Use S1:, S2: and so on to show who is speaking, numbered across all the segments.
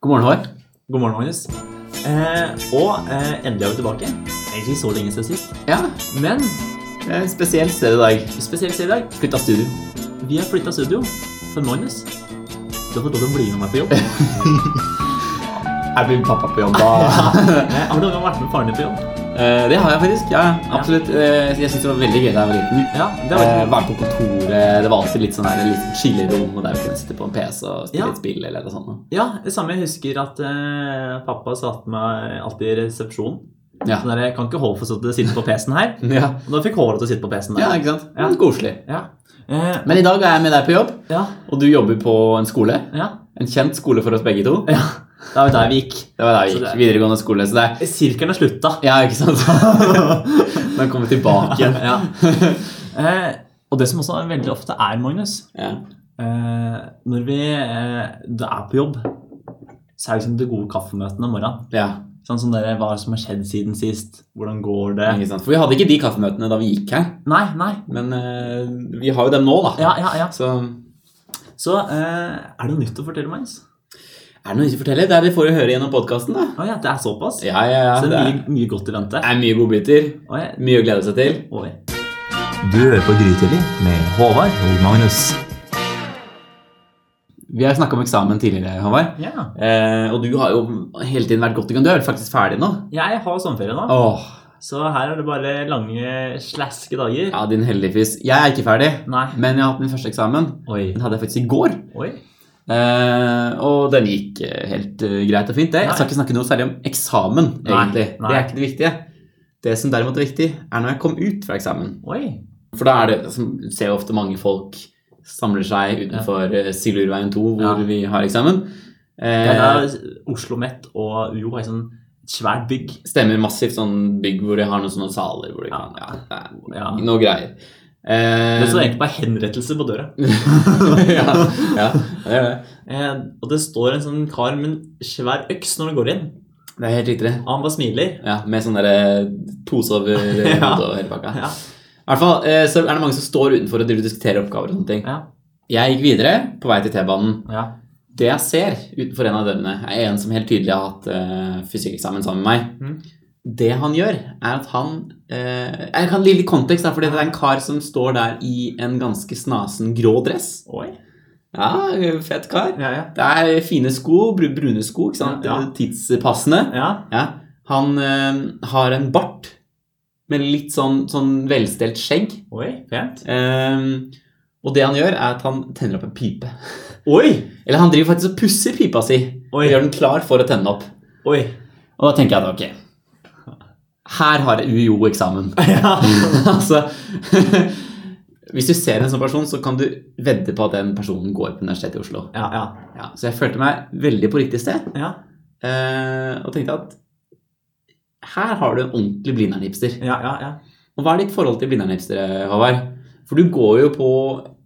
S1: God morgen, Håvard.
S2: God morgen, Magnus. Eh, og eh, endelig er vi tilbake. Egentlig så lenge siden sist.
S1: Ja,
S2: Men
S1: det er et spesielt sted i dag.
S2: spesielt i dag,
S1: Flytta studio.
S2: vi har flytta studio. For Magnus, du har fått lov til å bli med meg på jobb.
S1: Jeg blir pappa på jobb, da.
S2: Eh, har du noen gang vært med faren din på jobb?
S1: Eh, det har jeg faktisk. Ja, absolutt. Eh, Jeg syns det var veldig gøy da jeg var liten.
S2: Ja, det har
S1: Eh,
S2: vært
S1: Være på kontoret. Det var alltid litt sånn her, litt chillerom og der vi kunne sitte på en PC og spille
S2: Ja.
S1: et spill eller noe sånt.
S2: Ja, det samme. Jeg husker at eh, pappa satt meg alltid i resepsjonen.
S1: Ja.
S2: Sånn der, jeg kan ikke Håvard få sitte sitte på PC-en her.
S1: Ja.
S2: Og da fikk Håvard lov til å sitte på PC-en
S1: ja,
S2: der.
S1: ikke sant?
S2: Ja.
S1: Mm, Koselig.
S2: Ja. Eh,
S1: Men i dag er jeg med deg på jobb,
S2: ja.
S1: og du jobber på en skole.
S2: ja.
S1: En kjent skole for oss begge to.
S2: Ja. Det var jo der vi gikk.
S1: Det var da vi
S2: Så
S1: gikk
S2: det-
S1: videregående skole, så det er
S2: Sirkelen har slutta.
S1: Ja, ikke sant? Nå kommer vi tilbake igjen.
S2: ja. eh, og det som også er veldig ofte er, Magnus
S1: Ja.
S2: eh, Når vi eh, da er på jobb, så er liksom det gode kaffemøtene om morgenen.
S1: ja.
S2: Sånn som dere, Hva som har skjedd siden sist? Hvordan går det?
S1: Ikke sant? For vi hadde ikke de kaffemøtene da vi gikk her,
S2: Nei, nei.
S1: men eh, vi har jo dem nå, da.
S2: Ja, ja, ja.
S1: Så
S2: Så eh, er det noe nytt å fortelle, Magnus?
S1: er det noe vi ikke forteller? Det er det får du høre gjennom podkasten, da.
S2: Å ja, det er såpass?
S1: Ja, ja, ja.
S2: så det
S1: Det
S2: er
S1: er,
S2: mye, mye godt i vente.
S1: er mye godbiter.
S2: Å, ja.
S1: Mye å glede seg til.
S2: Oi.
S3: Du hører på Grytidlig med Håvard og Magnus.
S1: Vi har snakka om eksamen tidligere, Håvard.
S2: Ja.
S1: Eh, og du har jo hele tiden vært godt i gang. Du er vel faktisk ferdig nå?
S2: Jeg har sommerferie nå,
S1: Åh,
S2: så her er det bare lange, slaske dager.
S1: ja, din heldige fis. Jeg er ikke ferdig,
S2: Nei.
S1: men jeg har hatt min første eksamen.
S2: Oi.
S1: Den hadde jeg faktisk i går.
S2: Oi.
S1: Eh, og den gikk eh, helt eh, greit og fint, det. Jeg skal
S2: Nei.
S1: ikke snakke noe særlig om eksamen,
S2: Nei,
S1: egentlig.
S2: nei.
S1: Det er ikke det viktige. Det som derimot er viktig, er når jeg kom ut fra eksamen.
S2: Oi.
S1: For da er det, altså, du ser jo ofte mange folk samler seg utenfor ja. Silurveien 2, hvor
S2: Ja.
S1: vi har eksamen. Eh,
S2: Ja, da, Oslo Met og UiO har et sånn svært bygg.
S1: Stemmer massivt sånn bygg hvor de har noen sånne saler hvor de
S2: Ja.
S1: kan Ja, det er
S2: Ja.
S1: noe greier. Eh,
S2: Det står egentlig bare 'henrettelse' på døra.
S1: ja, ja, det er det.
S2: Eh, og det står en sånn kar med en svær øks når han går inn.
S1: Det er helt riktig, det.
S2: Og han bare smiler.
S1: Ja, med sånn derre pose over hodet
S2: Ja.
S1: og hele pakka.
S2: Ja.
S1: I hvert fall eh, så er det mange som står utenfor og driver og diskuterer oppgaver og sånne ting.
S2: Ja.
S1: Jeg gikk videre på vei til T-banen.
S2: ja.
S1: Det jeg ser utenfor en av dørene, er en som helt tydelig har hatt eh, fysikkeksamen sammen med meg.
S2: Mhm.
S1: Det han gjør, er at han eh, Jeg kan gi litt kontekst, for det er en kar som står der i en ganske snasen grå dress.
S2: Oi.
S1: Ja, fett kar.
S2: Ja, ja.
S1: Det er fine sko, bru- brune sko, ikke sant? Eh,
S2: Ja, ja.
S1: tidspassende.
S2: ja.
S1: Ja. Han eh, har en bart med litt sånn, sånn velstelt skjegg.
S2: Oi. Pent.
S1: Eh, og det han gjør, er at han tenner opp en pipe.
S2: Oi.
S1: Eller han driver faktisk og pusser pipa si.
S2: Oi.
S1: Og gjør den klar for å tenne opp.
S2: Oi.
S1: Og da tenker jeg at ok Her har UiO eksamen.
S2: Ja.
S1: altså Hvis du ser en sånn person, så kan du vedde på at den personen går på Universitetet i Oslo.
S2: Ja, ja.
S1: Ja, så jeg følte meg veldig på riktig sted
S2: ja.
S1: eh, og tenkte at her har du en ordentlig blindernhipster.
S2: ja, ja, ja.
S1: Og hva er ditt forhold til blindernhipstere, Håvard? For du går jo på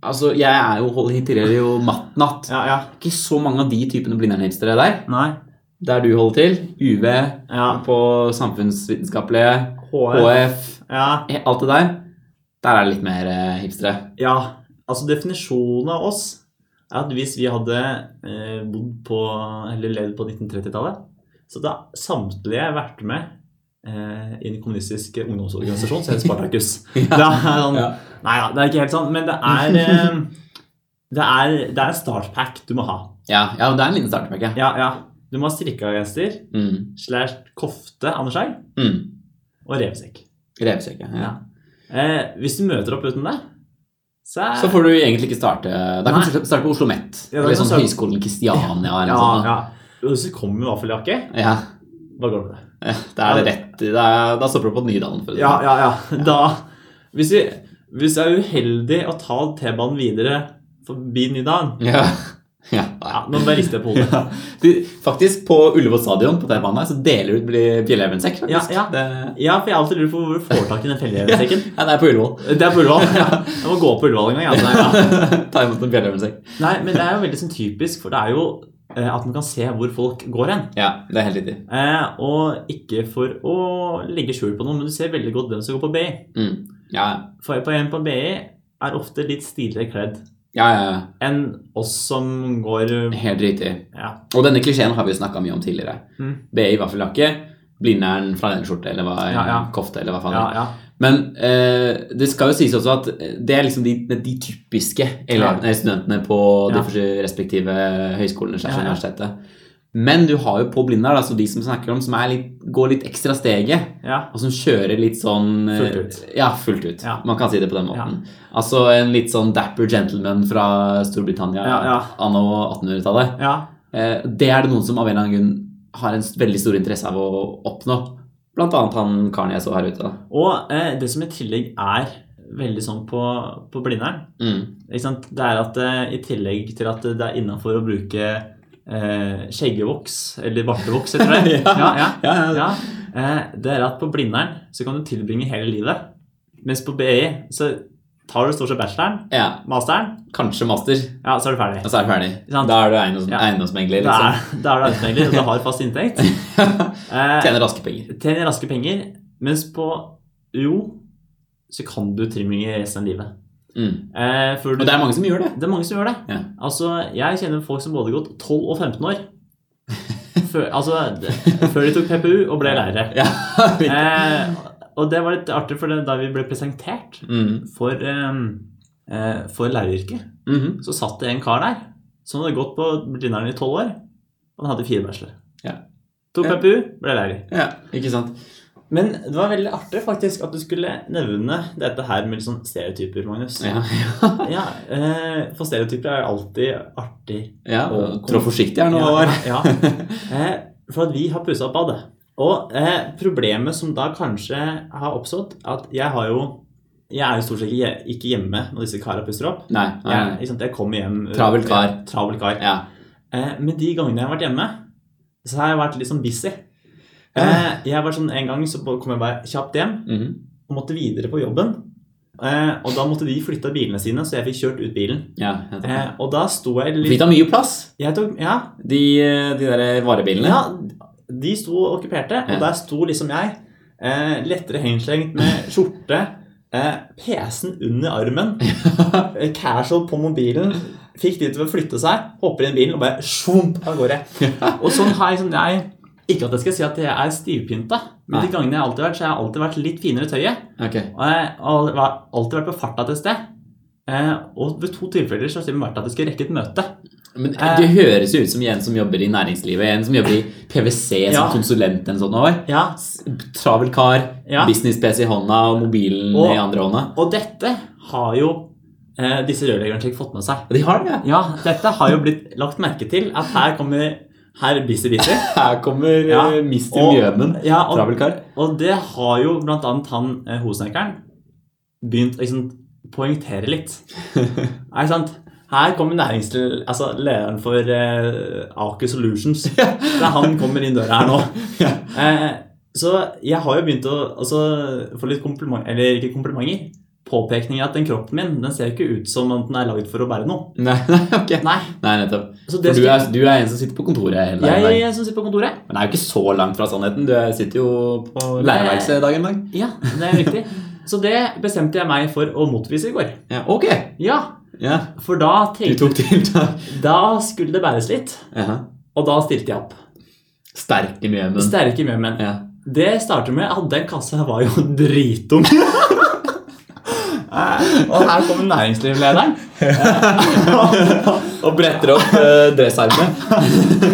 S1: Altså, jeg er jo, holder- integrerer jo matt-natt.
S2: ja, ja.
S1: Ikke så mange av de typene blindernhipstere der.
S2: Nei.
S1: Der du holder til. UV,
S2: Ja.
S1: på samfunnsvitenskapelige,
S2: HR.
S1: HF,
S2: Ja.
S1: alt det der. Der er det litt mer eh, hipstere.
S2: ja. Altså, definisjonen av oss er at hvis vi hadde eh, bodd på Eller levd på 1930-tallet, så hadde samtlige vært med eh, i en kommunistisk ungdomsorganisasjon som heter Spartakus. Det er sånn,
S1: Ja.
S2: Nei da, det er ikke helt sant, men det er eh, Det er, det er en startpack du må ha.
S1: Ja, ja det er en liten startpakke.
S2: Ja, ja. Du må ha strikkegenser,
S1: Mm.
S2: slash kofte, Andersheim,
S1: Mm.
S2: og revsekk.
S1: Revsekk. Ja.
S2: Ja. Eh, hvis du møter opp uten det, så er
S1: Så får du egentlig ikke starte Da kan
S2: Nei.
S1: du starte på Oslo Met.
S2: Ja, da
S1: eller
S2: kan
S1: sånn
S2: du starte-
S1: Høgskolen Kristiania eller sånn,
S2: ja,
S1: noe sånt.
S2: ja. Hvis du kommer med vaffeljakke,
S1: da. Ja.
S2: hva går det med det?
S1: Da er det rett Da, da stopper du på Nydalen. For å si det
S2: Ja, ja, ja. Da, hvis, vi, hvis jeg er uheldig å ta T-banen videre forbi Nydalen
S1: sånn. ja. Ja.
S2: ja, Nå bare rister jeg på hodet.
S1: Ja. Du, faktisk, på Ullevål stadion på T-banen her, så deler du ut bjellehevnsekk, faktisk.
S2: Ja, ja.
S1: Det,
S2: Ja, for jeg alltid lurer på hvor du får tak i den fellehjemmesekken.
S1: ja, det er på Ullevål.
S2: Det er på Ullevål. Ja. Jeg må gå på Ullevål en gang. Ja. Nei, ja.
S1: Ta imot en bjellehevnsekk.
S2: Nei, men det er jo veldig sånn typisk, for det er jo eh, at man kan se hvor folk går hen.
S1: Ja, det er helt riktig.
S2: Eh, og ikke for å legge skjul på noen, men du ser veldig godt hvem som går på BI.
S1: Mm. Ja, ja.
S2: For på en på BI er ofte litt stiligere kledd
S1: Ja, ja, ja.
S2: enn oss som går
S1: Helt riktig.
S2: ja.
S1: Og denne klisjeen har vi jo snakka mye om tidligere.
S2: Mm.
S1: BI vaffeljakke, Blindern flanellskjorte eller hva,
S2: Ja, ja.
S1: kofte eller hva faen.
S2: ja, ja.
S1: Men eh, det skal jo sies også at det er liksom de, de typiske elevene, eller studentene på de
S2: Ja.
S1: forskjellige respektive høyskolene slash
S2: Ja, ja.
S1: universitetet. Men du har jo på Blindern altså de som snakker om, som er litt, går litt ekstra steget.
S2: ja.
S1: Og som kjører litt sånn eh,
S2: Fullt ut.
S1: Ja, fullt ut.
S2: Ja.
S1: Man kan si det på den måten. Altså en litt sånn dapper gentleman fra Storbritannia
S2: Ja, ja.
S1: anno 1800-tallet.
S2: ja.
S1: Eh, Det er det noen som av en eller annen grunn har en s- veldig stor interesse av å oppnå. Blant annet han karen jeg så her ute. da.
S2: Og eh, det som i tillegg er veldig sånn på, på Blindern,
S1: Mm.
S2: ikke sant? det er at eh, i tillegg til at det er innafor å bruke eh, skjeggevoks, eller bartevoks, heter det. ja, ja,
S1: Ja, ja.
S2: ja. Eh, det er at på Blindern så kan du tilbringe hele livet. Mens på BI så tar du stort sett bacheloren,
S1: ja,
S2: masteren,
S1: kanskje master,
S2: ja, så er du ferdig.
S1: og så er du ferdig.
S2: Ikke sant?
S1: Da er du eiendoms
S2: Ja.
S1: eiendomsmegler.
S2: Da
S1: Liksom.
S2: er, da er du arbeidsmegler, og du har fast inntekt. Eh,
S1: Tjener raske penger.
S2: tjener raske penger, mens på UiO så kan du trimminge resten av livet.
S1: Mm.
S2: Eh, for
S1: Og
S2: du,
S1: det er mange som gjør det.
S2: det er mange som gjør det.
S1: Ja.
S2: Altså, jeg kjenner folk som både har gått 12 og 15 år. Før, altså, d- før de tok PPU og ble lærere.
S1: Ja.
S2: Eh, og det var litt artig, for det, da vi ble presentert
S1: Mm.
S2: for, eh, eh, for læreryrket,
S1: Mhm.
S2: så satt det en kar der som hadde gått på Blindern i 12 år, og han hadde fire bachelor.
S1: Ja.
S2: Tok
S1: Ja.
S2: PPU, ble lærer.
S1: ja, ikke sant.
S2: Men det var veldig artig faktisk at du skulle nevne dette her med litt sånn stereotyper, Magnus.
S1: Ja, ja.
S2: Ja, eh, For stereotyper er jo alltid artig.
S1: ja.
S2: Og-
S1: Trå forsiktig her nå, Håvard.
S2: ja, ja. Eh, For at vi har pussa opp badet. Og eh, problemet som da kanskje har oppstått, er at jeg har jo Jeg er jo stort sett ikke hje- ikke hjemme når disse karene pusser opp.
S1: Nei, nei.
S2: Jeg, ikke sant, jeg kommer hjem eh,
S1: Travel kar.
S2: Travel kar.
S1: Ja.
S2: Eh, men de gangene jeg har vært hjemme, så har jeg vært litt sånn busy. Eh,
S1: Ja.
S2: jeg var sånn En gang så kom jeg bare kjapt hjem.
S1: Mhm.
S2: og måtte videre på jobben. Eh, og da måtte de flytte bilene sine, så jeg fikk kjørt ut bilen.
S1: ja jeg tar det.
S2: Eh, og da sto jeg
S1: Fikk
S2: litt
S1: da mye plass,
S2: jeg tok, ja,
S1: de, de der varebilene.
S2: ja, de sto og okkuperte,
S1: Ja.
S2: og der sto liksom jeg. Eh, lettere hengslengt med skjorte, eh, PC-en under armen, eh, casual på mobilen. Fikk de til å flytte seg, hopper inn i bilen og bare sjump av gårde. Og sånn har jeg, sånn jeg Ikke at jeg skal si at jeg er stivpynta, men de
S1: Nei.
S2: gangene jeg har alltid vært, så har jeg alltid vært litt finere i tøyet.
S1: Ok.
S2: Og jeg har al- alltid vært på farta til et sted. Eh, og ved to tilfeller så har det vært at jeg skulle rekke et møte.
S1: Men
S2: Eh.
S1: det høres jo ut som en som jobber i næringslivet, en som jobber i PwC som
S2: Ja.
S1: konsulent eller sånn år.
S2: Ja,
S1: Travel kar,
S2: Ja.
S1: business-PC i hånda og mobilen
S2: Og-
S1: i andre hånda.
S2: Og dette har jo eh, disse rørleggerne sikkert fått med seg.
S1: Og de har det, ja.
S2: Ja, dette har jo blitt lagt merke til at her kommer herr Busy Busy.
S1: Her kommer
S2: Ja.
S1: eh, Mr.
S2: Og-
S1: Mjømen.
S2: Ja,
S1: Travel
S2: og,
S1: kar.
S2: og det har jo blant annet han eh, hosnekkeren begynt å liksom, poengtere litt. Er det sant? Her kommer næringslederen, altså lederen for eh, Aker Solutions. Det er han kommer inn døra her nå. Eh, så jeg har jo begynt å altså, få litt kompliment, eller ikke komplimenter, påpekninger at den kroppen min, den ser jo ikke ut som om den er laget for å bære noe.
S1: Nei, nei, ok.
S2: Nei,
S1: Nei, nettopp.
S2: så det
S1: For du
S2: skal-
S1: er, du er en som sitter på kontoret hele
S2: jeg,
S1: dagen.
S2: jeg, jeg som sitter på kontoret.
S1: Men det er jo ikke så langt fra sannheten. Du er- sitter jo på lærerværelset dag en dag.
S2: Ja, det er riktig. Så det bestemte jeg meg for å motvise i går.
S1: Ja, ok.
S2: Ja,
S1: Ja,
S2: for da
S1: du
S2: tenkte
S1: tok tiltak.
S2: Da skulle det bæres litt,
S1: Ja.
S2: og da stilte jeg opp.
S1: Sterke Mjømen.
S2: Sterke mjømenn.
S1: Ja.
S2: Det starter med at den kassa her var jo dritung. Eh, og her kommer næringslivslederen.
S1: Og bretter opp uh, dressarmene.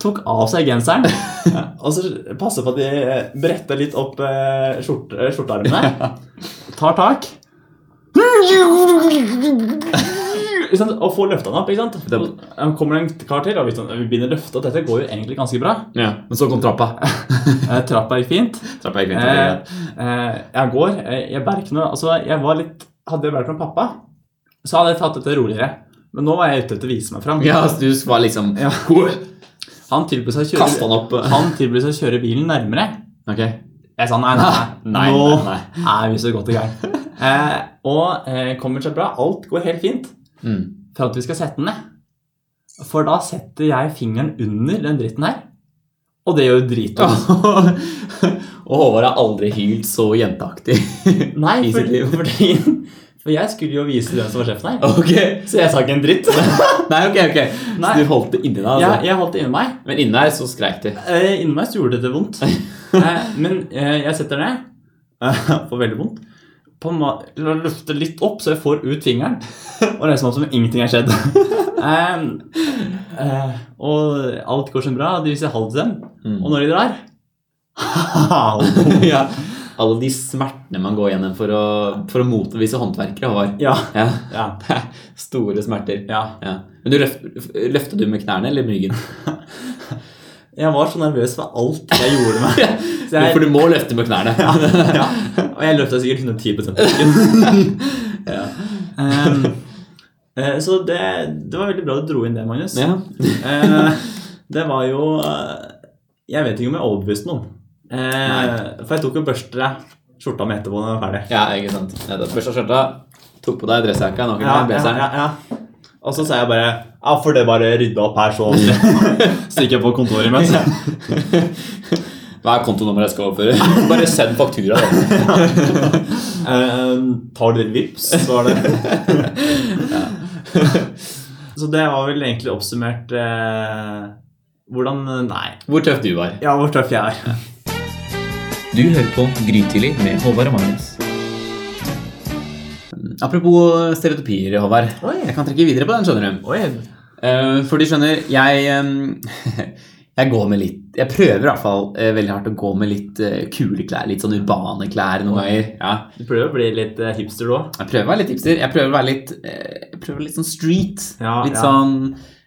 S2: Tok av seg genseren. Og så passer på at de eh, bretter litt opp eh, skjort, eh, skjortearmene. Tar tak. Ikke sant? Og får løfta den opp. ikke sant? Og eh, kommer det en kar til, og vi sånn, vi begynner å løfte. og Dette går jo egentlig ganske bra.
S1: Ja, men så kom trappa.
S2: Eh, Trappa gikk fint.
S1: Trappa gikk vinter.
S2: Eh, eh, jeg går, eh, jeg bærer ikke noe Altså, jeg var litt Hadde jeg vært med pappa, så hadde jeg tatt dette roligere. Men nå var jeg ute etter å vise meg fram.
S1: Ja, altså, du var liksom
S2: Ja. Han tilbød seg å kjøre
S1: Kasta han opp.
S2: Han tilbød seg å kjøre bilen nærmere.
S1: Ok.
S2: Jeg sa nei, nei,
S1: Nei,
S2: nå
S1: nei, nei.
S2: er vi så godt i gang. Eh, og eh, kommer seg bra. Alt går helt fint
S1: Mm.
S2: fram til vi skal sette den ned. For da setter jeg fingeren under den dritten her, og det gjør jo dritvondt.
S1: Og Håvard har aldri hylt så jenteaktig.
S2: Nei,
S1: i sitt
S2: fordi,
S1: liv.
S2: fordi, For jeg skulle jo vise hvem som var sjefen her.
S1: Ok.
S2: Så jeg sa ikke en dritt.
S1: Nei, ok, ok. Så
S2: Nei.
S1: du holdt det inni deg?
S2: Jeg,
S1: Altså.
S2: jeg holdt det inni meg.
S1: Men inni der så skreik du.
S2: Eh, Inni meg så gjorde det vondt. Eh, Men eh, jeg setter ned. Eh, Får veldig vondt. På ma løfter litt opp, så jeg får ut fingeren. Og det er som om ingenting er skjedd. Eh, eh, og alt går så bra. De viser halv til dem.
S1: Mm.
S2: Og når de drar Halv.
S1: ja. Alle de smertene man går gjennom for å, for å motvise håndverkere, Håvard.
S2: Ja.
S1: Ja.
S2: ja,
S1: Store smerter.
S2: ja.
S1: Ja. Men du løft, løftet du med knærne eller med ryggen?
S2: Jeg var så nervøs for alt jeg gjorde med Så jeg,
S1: For du må løfte med knærne.
S2: ja, Og jeg løfta sikkert 110 på ryggen. Ehm, eh, så det, det var veldig bra du dro inn det, Magnus.
S1: Ja.
S2: Eh, det var jo eh, Jeg vet ikke om jeg overbeviste noen. Eh,
S1: Nei.
S2: for jeg tok jo børste skjorta mi etterpå når jeg var ferdig.
S1: ja, ikke sant. Nettopp. Først av skjørta, tok på deg dressjakka, nå kan du
S2: ja,
S1: blazeren.
S2: ja, ja. Og så sa jeg bare Ja, for det bare rydda opp her, så stikker jeg på kontoret mitt.
S1: Hva er kontonummeret jeg skal overføre? Bare send faktura, da.
S2: Eh, tar dere vips, så var det Så det var vel egentlig oppsummert eh, hvordan Nei.
S1: Hvor tøff du var.
S2: Ja, hvor tøff jeg er.
S3: Du hører på Grytidlig med Håvard og Magnus.
S1: Apropos stereotypier, Håvard.
S2: Oi.
S1: Jeg kan trekke videre på den, skjønner du.
S2: Oi.
S1: Eh, for de skjønner, jeg eh, Jeg går med litt Jeg prøver i hvert fall eh, veldig hardt å gå med litt eh, kule klær. Litt sånn urbane klær noen ganger. Ja.
S2: Du prøver å bli litt eh, hipster, du òg.
S1: Jeg prøver å være litt hipster. Jeg prøver å være litt, eh, jeg prøver å være litt sånn street.
S2: Ja,
S1: litt
S2: ja.
S1: sånn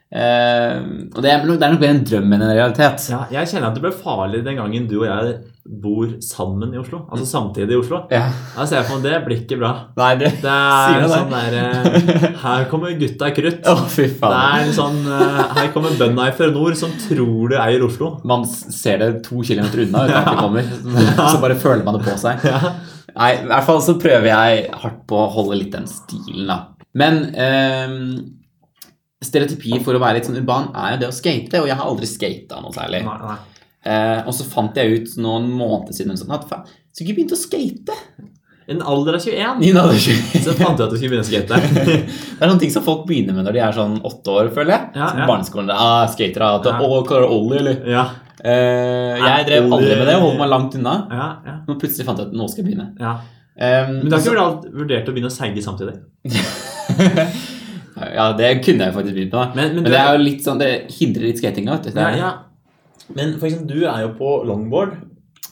S1: eh, Og det er, nok- det er nok mer en drøm enn en realitet.
S2: Ja, jeg kjenner at det ble farlig den gangen du og jeg bor sammen i Oslo. Altså samtidig i Oslo.
S1: Ja.
S2: Jeg ser for meg det blir ikke bra.
S1: Nei, det
S2: Det
S1: Sier du
S2: er
S1: det?
S2: sånn derre Her kommer gutta krutt.
S1: Å, fy
S2: Det
S1: faen.
S2: er sånn eh, Her kommer bøndene fra nord som tror du eier Oslo.
S1: Man ser det to kilometer unna uten at det kommer. Så bare føler man det på seg. Nei, i hvert fall så prøver jeg hardt på å holde litt den stilen, da. Men ehm, stereotypi for å være litt sånn urban er jo det å skate, og jeg har aldri skata noe særlig.
S2: Nei, nei.
S1: Eh, og så fant jeg ut noen måneder siden sånn at faen, så ikke begynte å skate.
S2: I en alder av 21
S1: Nina, det er
S2: så fant du at du skulle begynne å skate.
S1: det er noen ting som folk begynner med når de er sånn åtte år, føler jeg.
S2: Ja,
S1: Som
S2: ja.
S1: barneskolen. Ah, skater, ah,
S2: Ja.
S1: å, kaller du Ollie, eller?
S2: ja,
S1: Eh, jeg drev aldri med det, og holdt meg langt unna.
S2: ja, ja,
S1: Nå plutselig fant jeg ut nå skal jeg begynne.
S2: ja.
S1: Ehm,
S2: Men du har ikke vurdert- vurdert å begynne å seige samtidig?
S1: Ja, det kunne jeg faktisk begynt med. da.
S2: Men- men
S1: Men,
S2: du-
S1: det er jo litt sånn, det hindrer litt skatinga. vet du. Det
S2: Ja,
S1: er-
S2: ja. Men for eksempel, du er jo på longboard.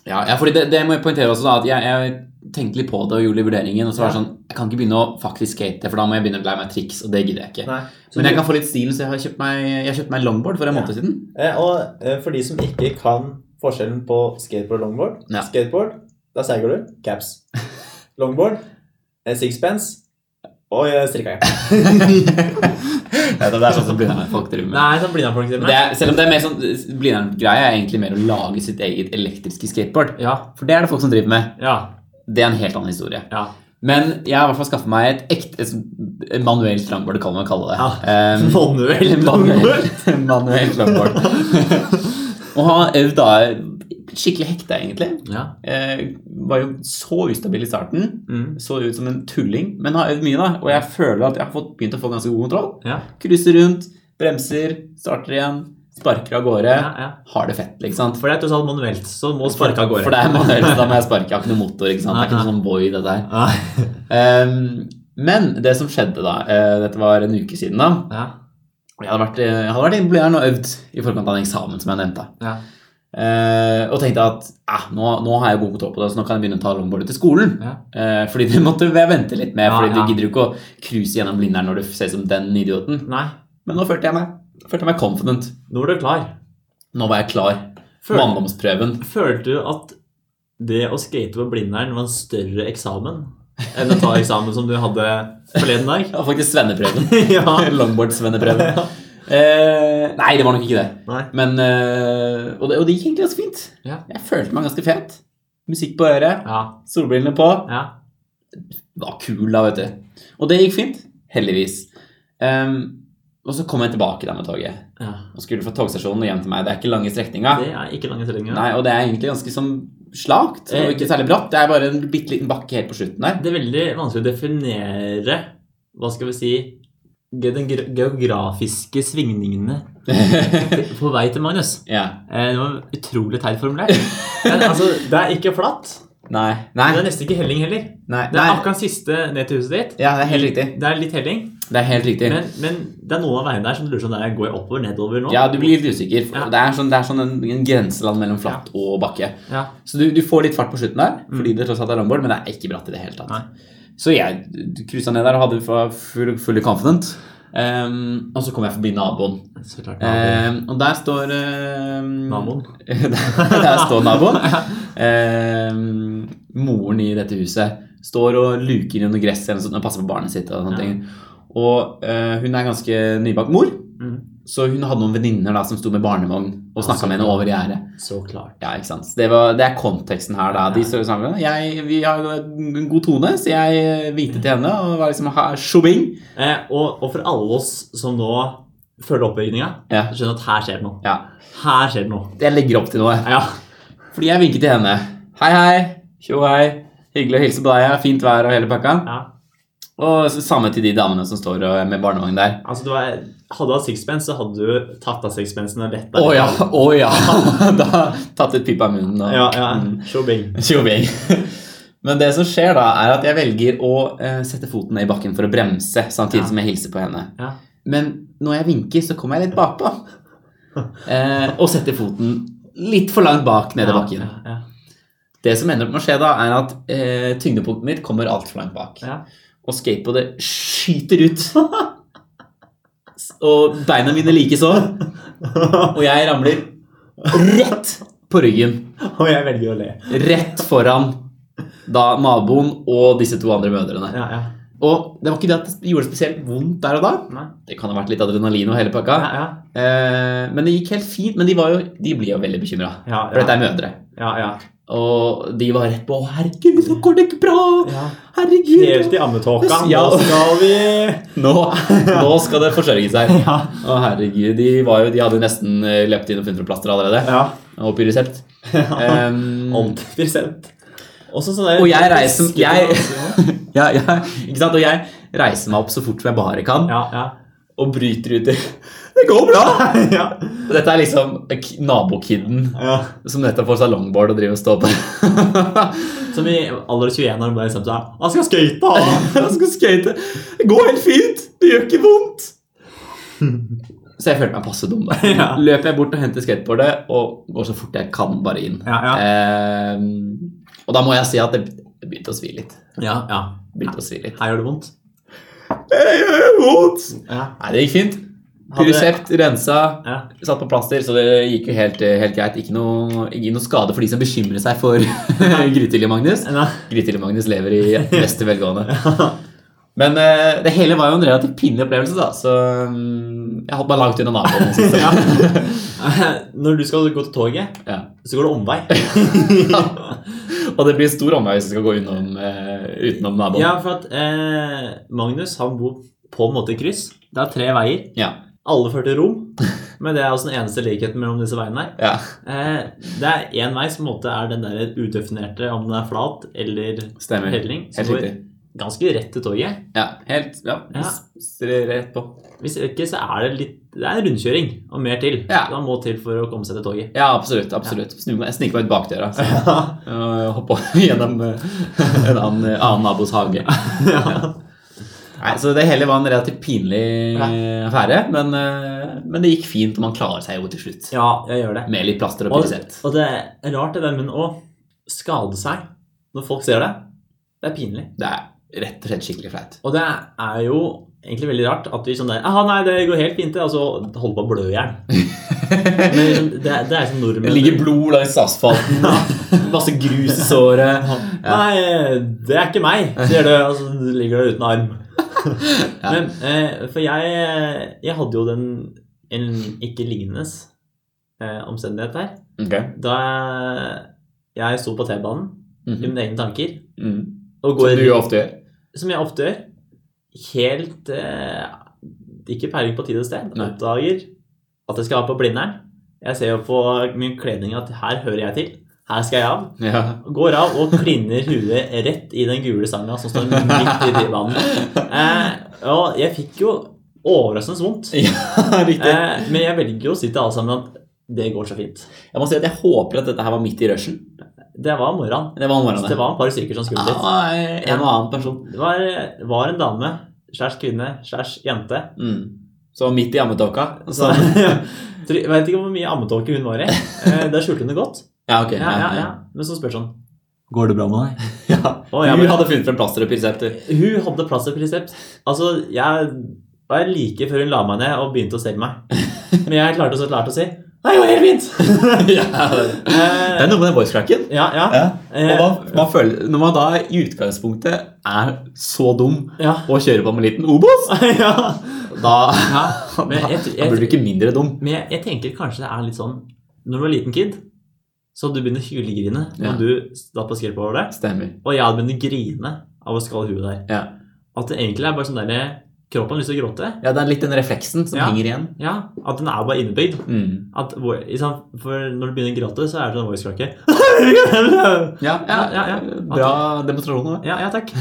S1: Ja, ja, fordi det, det må jeg poengtere også, da, at jeg, jeg tenkte litt på det og gjorde litt vurderingen. Og så var det sånn, jeg kan ikke begynne å faktisk skate, for da må jeg begynne å lære meg triks, og det gidder jeg ikke.
S2: Nei. Så
S1: Men jeg
S2: du,
S1: kan få litt stilen, så jeg har kjøpt meg, jeg har kjøpt meg longboard for en
S2: Ja.
S1: måned siden.
S2: eh, og eh, for de som ikke kan forskjellen på skateboard og longboard
S1: Ja.
S2: Skateboard, da seiger du. Caps. Longboard, eh, sixpence og eh, strikka jakke.
S1: Ja, det er sånn som Blindern folk driver med.
S2: Nei, sånn Blindern-folk driver
S1: Det er, selv om det er mer sånn Blindern-greie er egentlig mer å lage sitt eget elektriske skateboard.
S2: Ja,
S1: For det er det folk som driver med.
S2: ja,
S1: Det er en helt annen historie.
S2: ja.
S1: Men jeg har i hvert fall skaffet meg et ekte et sånt- et manuelt longboard, kan man kalle det. Eh,
S2: Manuel longboard.
S1: Manuel Manuel Longboard. og han øvde da skikkelig hekta, egentlig.
S2: Ja.
S1: Eh, var jo så ustabil i starten.
S2: Mm.
S1: Så ut som en tulling, men har øvd mye, da. Og jeg føler at jeg har fått, begynt å få ganske god kontroll.
S2: Ja.
S1: Cruiser rundt, bremser, starter igjen, sparker av gårde.
S2: Ja, ja.
S1: Har det fett, ikke sant.
S2: For det er tross alt manuelt, så må sparke av
S1: For
S2: gårde.
S1: det er manuelt, så da må jeg sparke. Jeg har ikke noe motor. ikke sant? Det er ikke noe sånn boy, det der. Ehm, men det som skjedde da, eh, dette var en uke siden da,
S2: Ja.
S1: Jeg hadde vært, eh, jeg hadde vært i Blindern og øvd i forkant av en eksamen som jeg nevnte.
S2: Ja.
S1: Eh, og tenkte at eh, nå, nå har jeg god kontroll på det, så nå kan jeg begynne å ta longboardet til skolen.
S2: Ja.
S1: Eh, fordi det måtte jeg vente litt med,
S2: Ja,
S1: fordi
S2: ja.
S1: du gidder jo ikke å cruise gjennom Blindern når du ser ut som den idioten.
S2: Nei,
S1: Men nå følte jeg meg, følte jeg meg confident.
S2: nå er du klar.
S1: Nå var jeg klar.
S2: Føl-
S1: Manndomsprøven.
S2: Følte du at det å skate på Blindern var en større eksamen enn å ta eksamen som du hadde forleden dag?
S1: Ja, faktisk svenneprøven.
S2: ja.
S1: Longboard-svenneprøven. Eh, nei, det var nok ikke det.
S2: Nei.
S1: Men, eh, og, det og det gikk egentlig ganske fint.
S2: Ja.
S1: Jeg følte meg ganske fet. Musikk på øret,
S2: Ja.
S1: solbrillene på.
S2: ja.
S1: var kul da, vet du. Og det gikk fint, heldigvis. Ehm, og så kom jeg tilbake da med toget.
S2: ja.
S1: Og skulle fra togstasjonen og hjem til meg. Det er ikke lange strekninga.
S2: Det er ikke lange treninger.
S1: Nei, og det er egentlig ganske som slakt
S2: Eh,
S1: og ikke særlig bratt. Det er bare en bitte liten bakke helt på slutten der.
S2: Det er veldig vanskelig å definere Hva skal vi si ge- Den gre- geografiske svingningene på vei til Magnus.
S1: ja.
S2: Eh, Det var utrolig teit formulert. Men altså, det er ikke flatt.
S1: Nei. Nei.
S2: Det er nesten ikke helling heller.
S1: Nei.
S2: Det er akkurat siste ned til huset ditt.
S1: Ja, det er helt riktig.
S2: Det er litt helling,
S1: Det er helt riktig.
S2: men, men det er noen av veiene der som du lurer sånn der, Går jeg oppover, nedover nå?
S1: Ja, du blir litt usikker.
S2: Ja.
S1: Det er sånn, det er sånn en, en grenseland mellom flatt og bakke.
S2: Ja.
S1: Så du, du får litt fart på slutten der, fordi det tross alt er longboard, men det er ikke bratt i det hele tatt.
S2: Mm. Nei.
S1: Så jeg cruisa ned der og hadde var full, fully confident. Ehm, og så kom jeg forbi naboen.
S2: Så klart.
S1: Ehm, og der står ehm,
S2: Naboen.
S1: der, der står naboen. Ehm, moren i dette huset står og luker i noe gress eller noe sånt, og passer på barnet sitt. Og, sånne
S2: Ja.
S1: ting. og eh, hun er ganske nybakt mor,
S2: Mm. Altså,
S1: så hun hadde noen venninner da, som sto med barnevogn og
S2: Ja, så
S1: snakka med henne
S2: bra.
S1: over gjerdet.
S2: Så klart.
S1: Ja, ikke sant. Så Det, var, det er konteksten her, da. De står sammen. Jeg, vi har en god tone, så jeg hvite til henne og var liksom ha- Shobing.
S2: Eh, og, og for alle oss som nå følger oppbygninga,
S1: Ja.
S2: skjønner at her skjer det noe.
S1: ja.
S2: Her skjer det noe.
S1: Jeg legger opp til noe.
S2: Ja.
S1: Fordi jeg vinket til henne. Hei, hei. Tjo, hei. Hyggelig å hilse på deg. ja. Fint vær og hele pakka.
S2: ja.
S1: Og så samme til de damene som står og, med barnevogn der.
S2: Altså, du er, hadde du hatt sixpence, så hadde du tatt av sixpencen og lett
S1: Å ja, å ja. da tatt ut pipa i munnen og
S2: Ja, ja.
S1: Mm.
S2: Shobing.
S1: Tjobing. Men det som skjer da, er at jeg velger å eh, sette foten ned i bakken for å bremse, samtidig
S2: Ja.
S1: som jeg hilser på henne.
S2: Ja.
S1: Men når jeg vinker, så kommer jeg litt bakpå. Eh, og setter foten litt for langt bak nede i bakken.
S2: Ja, ja,
S1: Det som ender opp med å skje da, er at eh, tyngdepunktet mitt kommer altfor langt bak.
S2: ja.
S1: Og skateboardet skyter ut. S- og beina mine likeså. Og jeg ramler rett på ryggen.
S2: Og jeg velger å le.
S1: Rett foran da naboen og disse to andre mødrene.
S2: Ja, ja.
S1: Og det var ikke det at det gjorde spesielt vondt der og da.
S2: Nei.
S1: Det kan ha vært litt adrenalin og hele pakka.
S2: Ja, ja.
S1: Eh, men det gikk helt fint. Men de, var jo, de blir jo veldig bekymra.
S2: Ja,
S1: For dette
S2: ja.
S1: er mødre.
S2: ja, ja.
S1: Og de var rett på 'Herregud, nå går det ikke bra!'
S2: ja.
S1: Herregud.
S2: Helt i ammetåka. Nå
S1: Ja.
S2: skal vi
S1: Nå, nå skal det forsørge seg.
S2: Ja.
S1: Å, herregud. De, var jo, de hadde jo nesten eh, løpt inn og funnet noen plaster allerede.
S2: ja. Eh,
S1: Og pyresept. Ehm,
S2: Omtrent. Også sånn der
S1: Og jeg reiser- jeg-
S2: Ja,
S1: ja, ja, ikke sant? Og jeg reiser meg opp så fort som jeg bare kan,
S2: ja.
S1: og bryter ut i 'Det går bra!'
S2: ja.
S1: Og dette er liksom k- nabokidden
S2: ja.
S1: som nettopp får seg longboard og driver og står på.
S2: Som i alder 21 når du bare bestemte seg Han skal skøyte! han!»
S1: Jeg skal skate. Det går helt fint. Det gjør ikke vondt. Så jeg følte meg passe dum. da
S2: Ja.
S1: Løper jeg bort og henter skateboardet og går så fort jeg kan bare inn.
S2: Ja, ja.
S1: Eh, og da må jeg si at det det begynte å svi litt.
S2: ja, ja.
S1: Begynte å svi litt.
S2: Her gjør det vondt. Ja.
S1: Nei, det gikk fint.
S2: Hadde-
S1: Pyrosept, rensa,
S2: Ja.
S1: satt på plaster, så det gikk jo helt, helt greit. Ikke noe, ikke noe skade for de som bekymrer seg for Grytidlig-Magnus.
S2: Nei.
S1: Grytidlig-Magnus lever i beste velgående. Men eh, det hele var jo en relativt pinlig opplevelse, da, så mm, jeg holdt meg langt unna naboen. synes jeg.
S2: ja. Når du skal gå til toget,
S1: Ja.
S2: så går det omvei.
S1: Og det blir stor omvei hvis jeg skal gå innom, eh, utenom naboen.
S2: Ja, for at eh, Magnus han bor på en måte i kryss. Det er tre veier.
S1: Ja.
S2: Alle fører til Rom, men det er også den eneste likheten mellom disse veiene her.
S1: ja.
S2: Eh, det er én vei som på en måte er den der udefinerte, om den er flat eller
S1: Stemmer.
S2: helling.
S1: Helt
S2: som går
S1: riktig.
S2: ganske rett til toget.
S1: Ja, helt ja.
S2: Ja.
S1: s- s- Rett på.
S2: Hvis ikke, så er det litt Det er en rundkjøring, og mer til.
S1: Ja.
S2: Da må til for å komme seg til toget.
S1: Ja, absolutt. absolutt. Snu meg- Jeg sniker meg ut bakdøra så, og hopper gjennom eh, en annen, eh, annen nabos hage.
S2: Ja.
S1: Nei, så det hele var en relativt pinlig eh, affære, men, eh, men det gikk fint, og man klarer seg jo til slutt.
S2: ja, jeg gjør det.
S1: Med litt plaster og
S2: Og,
S1: pyrosept.
S2: og det er rart det der med å skade seg når folk ser det. Det er pinlig.
S1: Det er rett og slett skikkelig flaut.
S2: Og det er jo egentlig veldig rart at vi sånn der Aha, nei, det går helt fint, det. Og så holder på å blø i hjel. Men liksom, det, er- det er som
S1: Det
S2: nordmenn
S1: ligger blod langs asfalten, masse grus i såret.
S2: Nei, det er ikke meg, sier du, og så ligger du uten arm. Men, eh, for jeg, jeg hadde jo den en ikke lignende eh, omstendighet her.
S1: Ok.
S2: Da jeg sto på T-banen i
S1: Mhm.
S2: mine egne tanker
S1: Mm.
S2: og
S1: Som
S2: går,
S1: du jo ofte gjør.
S2: som jeg ofte gjør, helt eh, ikke peiling på tid og sted,
S1: Nei.
S2: oppdager at jeg skal ha på Blindern. Jeg ser jo på min kledning at her hører jeg til. Her skal jeg av.
S1: Ja.
S2: Går av og prinner huet rett i den gule sanga som står midt i divanen. Eh, og jeg fikk jo overraskende vondt.
S1: ja, riktig.
S2: Eh, men jeg velger jo å si til alle sammen at det går så fint.
S1: Jeg må si at jeg håper at dette her var midt i rushen.
S2: Det var morgenen.
S1: Det var
S2: Så
S1: morgenen.
S2: det var et par stykker som skulle
S1: Ja,
S2: dit.
S1: en og annen person.
S2: Det var, var en dame slash kvinne slash jente.
S1: Mm. Så midt i ammetåka.
S2: Så,
S1: Så...
S3: Sånn.
S2: Tror- jeg vet ikke hvor mye ammetåke hun var i. Eh, Der skjulte hun det godt.
S1: Ja, ok.
S2: Ja, ja, ja. Men så spør sånn
S3: Går det bra med deg?
S1: Ja.
S2: Å, ja,
S1: Du
S2: men-
S1: hadde funnet frem plaster og pinsett, du.
S2: Hun hadde plass til resept. Altså, jeg var like før hun la meg ned og begynte å stelle meg. Men jeg klarte så klart å si Nei, det var helt fint!
S1: ja. Det
S2: Eh,
S1: er noe med den voicecracken.
S2: ja, ja.
S1: Eh, Og man, man føler, når man da i utgangspunktet er så dum
S2: Eh, ja.
S1: og kjører på med en liten Obos,
S2: ja.
S1: da,
S2: men jeg
S1: da
S2: tror- jeg-
S1: blir du ikke mindre dum.
S2: Men jeg, jeg tenker kanskje det er litt sånn Når du var liten kid, så hadde du begynt å hylegrine
S1: Ja.
S2: når du satt på skateboard over det,
S1: Stemmer.
S2: og jeg hadde begynt å grine av å skalle huet der.
S1: Ja.
S2: At det egentlig er bare sånn derre Kroppen har lyst til å gråte.
S1: Ja, det er litt den refleksen som
S2: Ja.
S1: henger igjen.
S2: Ja, At den er bare innebygd.
S1: Mm.
S2: At, hvor- ikke sant? for når du begynner å gråte, så er det sånn voice-krakke.
S1: Ja, ja, ja,
S2: ja, ja.
S1: Bra demonstrasjon. da.
S2: ja, ja, takk.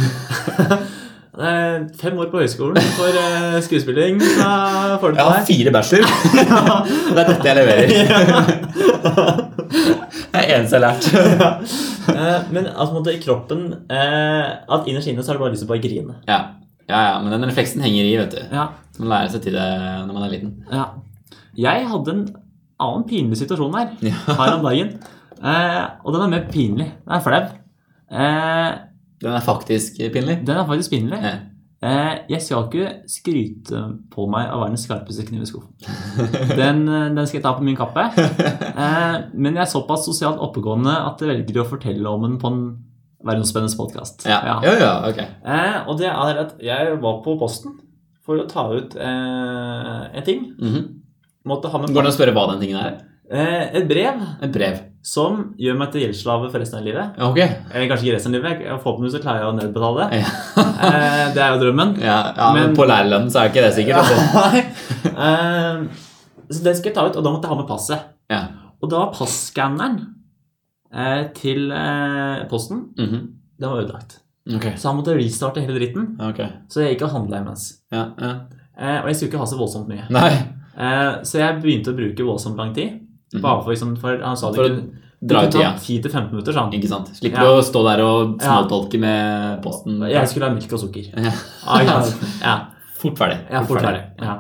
S2: Eh, Fem år på høyskolen for eh, skuespilling. Da får du
S1: Jeg har
S2: det
S1: fire bachelor. det er dette jeg leverer. Det er eneste jeg har lært.
S2: Eh, Men altså, på en måte, i kroppen eh, At innerst inne så har du bare lyst til å bare grine.
S1: Ja. ja, ja, men den refleksen henger i, vet du.
S2: Ja,
S1: Man lærer seg til det når man er liten.
S2: ja. Jeg hadde en annen pinlig situasjon her
S1: Ja.
S2: her om dagen. Eh, og den er mer pinlig. Den er flau. Eh,
S1: Den er faktisk pinlig.
S2: den er faktisk pinlig.
S1: Ja.
S2: Eh, jeg skal ikke skryte på meg av verdens skarpeste kniv i skuffen. Den, eh, den skal jeg ta på min kappe. Eh, men jeg er såpass sosialt oppegående at jeg velger å fortelle om den på en verdensspennende podkast.
S1: Ja, ja, ja ok.
S2: Eh, og det er at jeg var på posten for å ta ut eh, en ting.
S1: Mhm.
S2: Måtte ha med
S1: Går det an å spørre hva den tingen er?
S2: eh, et brev
S1: Et brev.
S2: som gjør meg til gjeldsslave for resten av livet.
S1: Ok.
S2: Eller kanskje ikke resten av livet. jeg- Forhåpentligvis så klarer jeg å nedbetale det.
S1: Ja,
S2: Eh, det er jo drømmen.
S1: ja, ja men,
S2: Men-
S1: på lærerlønnen så er ikke det sikkert. altså.
S2: Nei. Eh, så den skal jeg ta ut, og da måtte jeg ha med passet.
S1: Ja.
S2: Og da var passskanneren eh, til eh, posten
S1: Mhm.
S2: den var ødelagt.
S1: Ok.
S2: Så han måtte restarte hele dritten.
S1: Ok.
S2: Så jeg gikk og handla imens.
S1: Ja, ja.
S2: Eh, og jeg skulle ikke ha så voldsomt mye.
S1: Nei.
S2: Eh, så jeg begynte å bruke voldsomt lang tid.
S1: Mhm.
S2: Bare for, liksom, for han sa det
S1: For å
S2: kunne-
S1: Dra ut
S2: det kunne
S1: tida.
S2: ta 10-15 minutter, sa han.
S1: Ikke sant? Slipper
S2: Ja.
S1: du å stå der og småtolke med posten.
S2: Jeg skulle ha melk og sukker.
S1: Ja.
S2: Ah, ikke sant? ja,
S1: Fort ferdig.
S2: jeg er fort ferdig. Ja.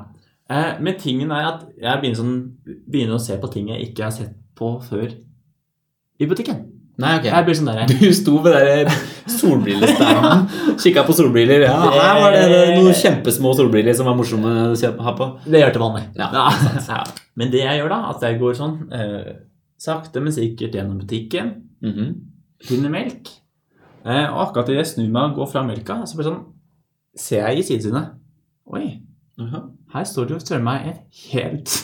S2: Eh, men tingen er at jeg begynner, sånn, begynner å se på ting jeg ikke har sett på før i butikken.
S1: Nei,
S2: Jeg
S1: ok.
S2: blir sånn der
S1: Du sto ved der solbrillestanden, kikka på solbriller. Ja, her var det noen kjempesmå solbriller som var morsomme å kjøpe- ha på.
S2: Det gjør til vanlig.
S1: Ja,
S2: Ja. Men det jeg gjør, da, at jeg går sånn eh, sakte, men sikkert gjennom butikken.
S1: Mhm.
S2: finner melk. Eh, og akkurat idet jeg snur meg og går fra melka, så bare sånn, ser jeg i sidesynet. Oi,
S1: Jaha.
S2: her står det jo søren meg et helt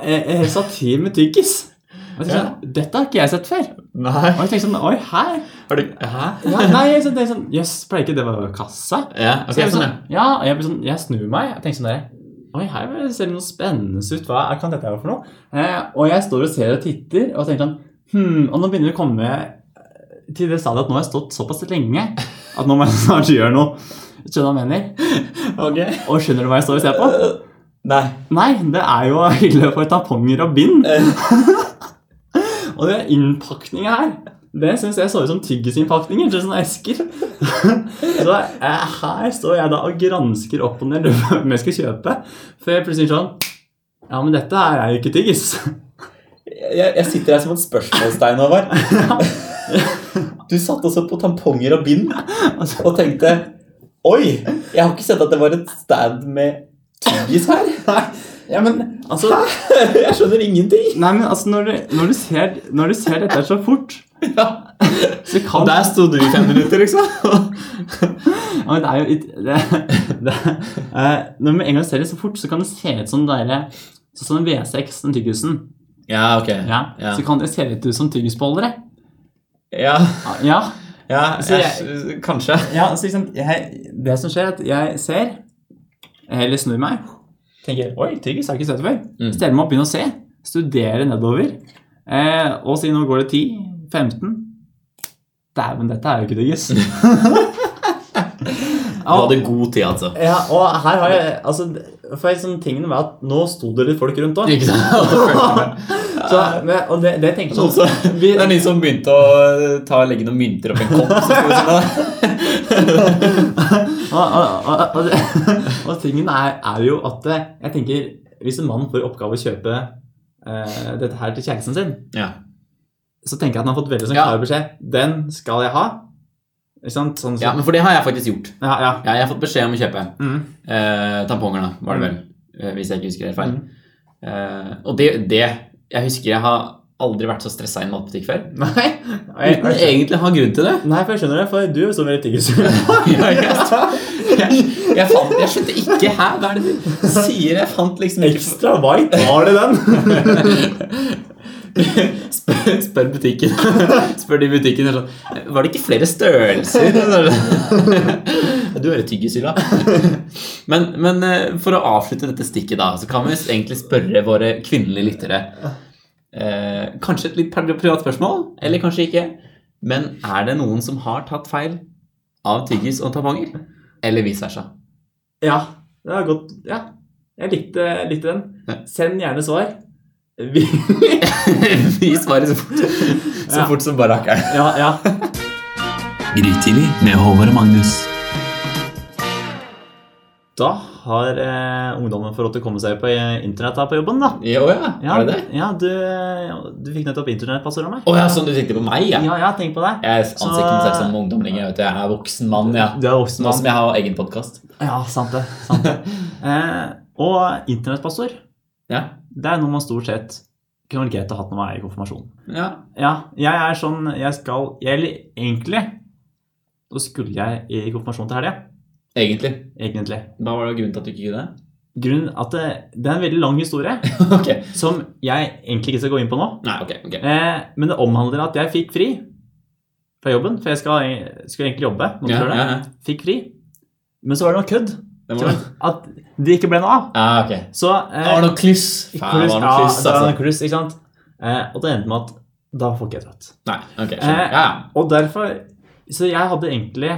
S2: eh, et helt satir med tyggis. Og jeg tenker sånn, Dette har ikke jeg sett før. Og
S1: Nei.
S2: jeg tenker sånn, oi, her?
S1: Har du Hæ?
S2: Ja, nei, jeg tenkte sånn, jøss, pleier ikke det å være kassa?
S1: Ja, ok.
S2: Så jeg, blir
S1: Sånn, ja.
S2: sånn, ja, og jeg, blir sånn, jeg snur meg og tenker sånn der, Oi, her ser det noe spennende ut. Hva er- kan dette være for noe? Eh, og jeg står og ser og titter og tenker sånn hmm, Og nå begynner vi å komme til det stadiet at nå har jeg stått såpass lenge at nå må jeg snart gjøre noe. Skjønner du hva jeg mener?
S1: Ok.
S2: Og skjønner du hva jeg står og ser på?
S1: Nei.
S2: Nei, det er jo en hylle for tamponger og bind. Og den innpakninga her, det syns jeg så ut som tyggisinnpakninger til sånne esker. Så eh, her står jeg da og gransker opp og ned hvem jeg skal kjøpe, før jeg plutselig sånn Ja, men dette her er jo ikke tyggis.
S1: Jeg, jeg sitter her som et spørsmålstegn, Håvard. Du satt også på tamponger og bind
S2: Altså,
S1: og tenkte Oi, jeg har ikke sett at det var et stand med tyggis her.
S2: ja, men altså
S1: Jeg skjønner ingenting.
S2: Nei, men altså, når du, når du, ser, når du ser dette så fort,
S1: Ja.
S2: så kan
S1: Og der sto du i fem minutter, liksom.
S2: Ja, men det er jo litt det, det, eh, Når man en gang ser det så fort, så kan det se ut som det derre- Sånn som en V6, den tyggisen.
S1: Ja, ok.
S2: Ja.
S1: Ja.
S2: Så kan det se litt ut som tyggisbeholdere.
S1: Ja,
S2: Ja.
S1: ja
S2: Så
S1: jeg, kanskje.
S2: ja så liksom, jeg, det som skjer, er at jeg ser, eller snur meg, tenker Oi, tyggis har jeg ikke sett før.
S1: Mm.
S2: Steller meg opp, begynner å se, studerer nedover. Eh, og si nå går det 10, 15 Dæven, dette er jo ikke diggis.
S1: Du hadde god tid, altså.
S2: Ja, og her har jeg altså, For liksom, tingen var at nå sto det litt folk rundt òg.
S1: Ikke sant?
S2: Og det, det tenker jeg
S1: Sånn
S2: sånn
S1: som-
S2: vi,
S1: det er de som begynte å eh, ta, legge noen mynter opp i en kopp. så skulle vi si det.
S2: og, og, og, og, det, og tingen er, er jo at eh, jeg tenker Hvis en mann får i oppgave å kjøpe eh, dette her til kjæresten sin,
S1: Ja.
S2: så tenker jeg at han har fått veldig sånn
S1: Ja.
S2: klar beskjed. Den skal jeg ha. Ikke sant? Sånn,
S1: ja,
S2: sånn.
S1: men For det har jeg faktisk gjort.
S2: Ja, ja.
S1: Ja, jeg har fått beskjed om å kjøpe
S2: Mm.
S1: eh, tamponger, da, var det vel. Eh, hvis jeg ikke husker helt feil. Eh, og det, det Jeg husker jeg har aldri vært så stressa i en matbutikk før.
S2: Nei, jeg,
S1: Uten egentlig å ha grunn til det.
S2: nei, for jeg skjønner det, for du er jo så veldig tyggis.
S1: Ja, jeg, jeg, jeg, fant, jeg skjønte ikke Hæ, hva er det du sier? Jeg fant liksom ikke
S2: Ekstra white, var det den?
S1: spør, spør butikken. Spør de i butikken er sånn Var det ikke flere størrelser? Du er et tyggishylla. Men, men eh, for å avslutte dette stikket, da, så kan vi egentlig spørre våre kvinnelige lyttere eh, Kanskje et litt pri- privat spørsmål, eller kanskje ikke. Men er det noen som har tatt feil av tyggis og tamponger? Eller vice versa?
S2: Ja, det var godt. Ja, jeg likte, likte
S1: Ja.
S2: den. Send gjerne svar. Vi,
S1: Vi svarer så fort, så
S2: Ja.
S1: fort som bare rakkeren.
S2: ja, ja.
S3: Grytidlig med Håvard og Magnus.
S2: Da har eh, ungdommen fått lov til å komme seg på eh, internett her på jobben, da.
S1: Jo ja,
S2: Ja,
S1: er det det?
S2: Ja, du, du fikk nettopp internettpassord av meg.
S1: Å ja, sånn du tenkte på meg, ja?
S2: Ja, ja, tenk på det.
S1: Jeg anser ikke meg selv som ungdom lenger. Jeg, vet, du. jeg er voksen mann, ja.
S2: Du er voksen
S1: Nå
S2: mann.
S1: som jeg har egen podkast.
S2: Ja, sant det. Sant det. eh, og internettpassord,
S1: Ja.
S2: det er noe man stort sett kunne vært greit å ha hatt når man er i konfirmasjon.
S1: Ja.
S2: Ja, jeg er sånn Jeg skal Eller egentlig så skulle jeg i konfirmasjon til helga.
S1: Egentlig.
S2: Egentlig.
S1: Hva var det grunnen til at du ikke gjorde det?
S2: Grunnen at det, det er en veldig lang historie
S1: ok.
S2: som jeg egentlig ikke skal gå inn på nå.
S1: Nei, ok. ok.
S2: Eh, men det omhandler at jeg fikk fri fra jobben, for jeg skal, skulle egentlig jobbe. Måtte
S1: Ja,
S2: gjøre
S1: ja,
S2: det.
S1: ja.
S2: Fikk fri. Men så var det noe kødd.
S1: Det var det.
S2: At det ikke ble noe av.
S1: Ja, ok. Det
S2: Så eh,
S1: var noe kluss. Faen, det
S2: kluss-
S1: var
S2: ja,
S1: noe kluss,
S2: det var noe
S1: altså.
S2: kluss, ikke sant? Eh, og det endte med at da får ikke jeg dratt.
S1: Nei, ok. skjønner. Ja, ja.
S2: Og derfor Så jeg hadde egentlig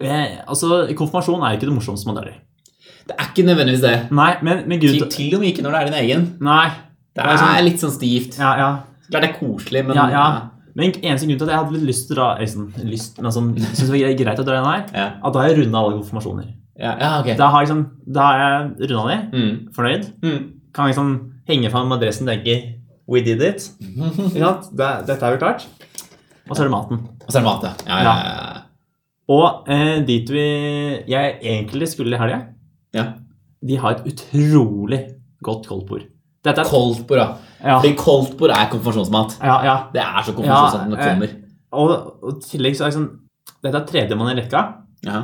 S2: eh, Altså, konfirmasjon er ikke det morsomste man dør i.
S1: Det er ikke nødvendigvis det.
S2: Nei, men, men
S1: Til,
S2: grunnen til
S1: til og med ikke når det er din egen.
S2: Nei.
S1: Det
S2: er sånn-
S1: er litt sånn stivt.
S2: Ja, ja.
S1: Klart det er koselig, men
S2: ja, ja. Men eneste grunn til at jeg hadde litt lyst til å dra liksom, lyst, men sånn, synes det var greit å dra den her,
S1: Ja,
S2: at da har jeg runda alle konfirmasjoner.
S1: ja, ja ok.
S2: Da har, jeg liksom, da har jeg runda de,
S1: Mm.
S2: fornøyd.
S1: Mm.
S2: Kan liksom henge fram adressen og tenke We did it. Ikke sant? Det, dette er jo klart. Og så er det maten.
S1: Og så er det mat, ja. Ja, ja, ja.
S2: Og eh, dit vi jeg egentlig skulle i helga,
S1: ja.
S2: de har et utrolig godt koldtbord. Dette er
S1: Koldtbord, da.
S2: ja,
S1: Fordi koldtbord er konfirmasjonsmat.
S2: ja, ja.
S1: Det er så konfirmasjonsmat når det
S2: Ja, eh.
S1: kommer.
S2: Og, og i tillegg så er det sånn Dette er tredjemann i rekka.
S1: Ja.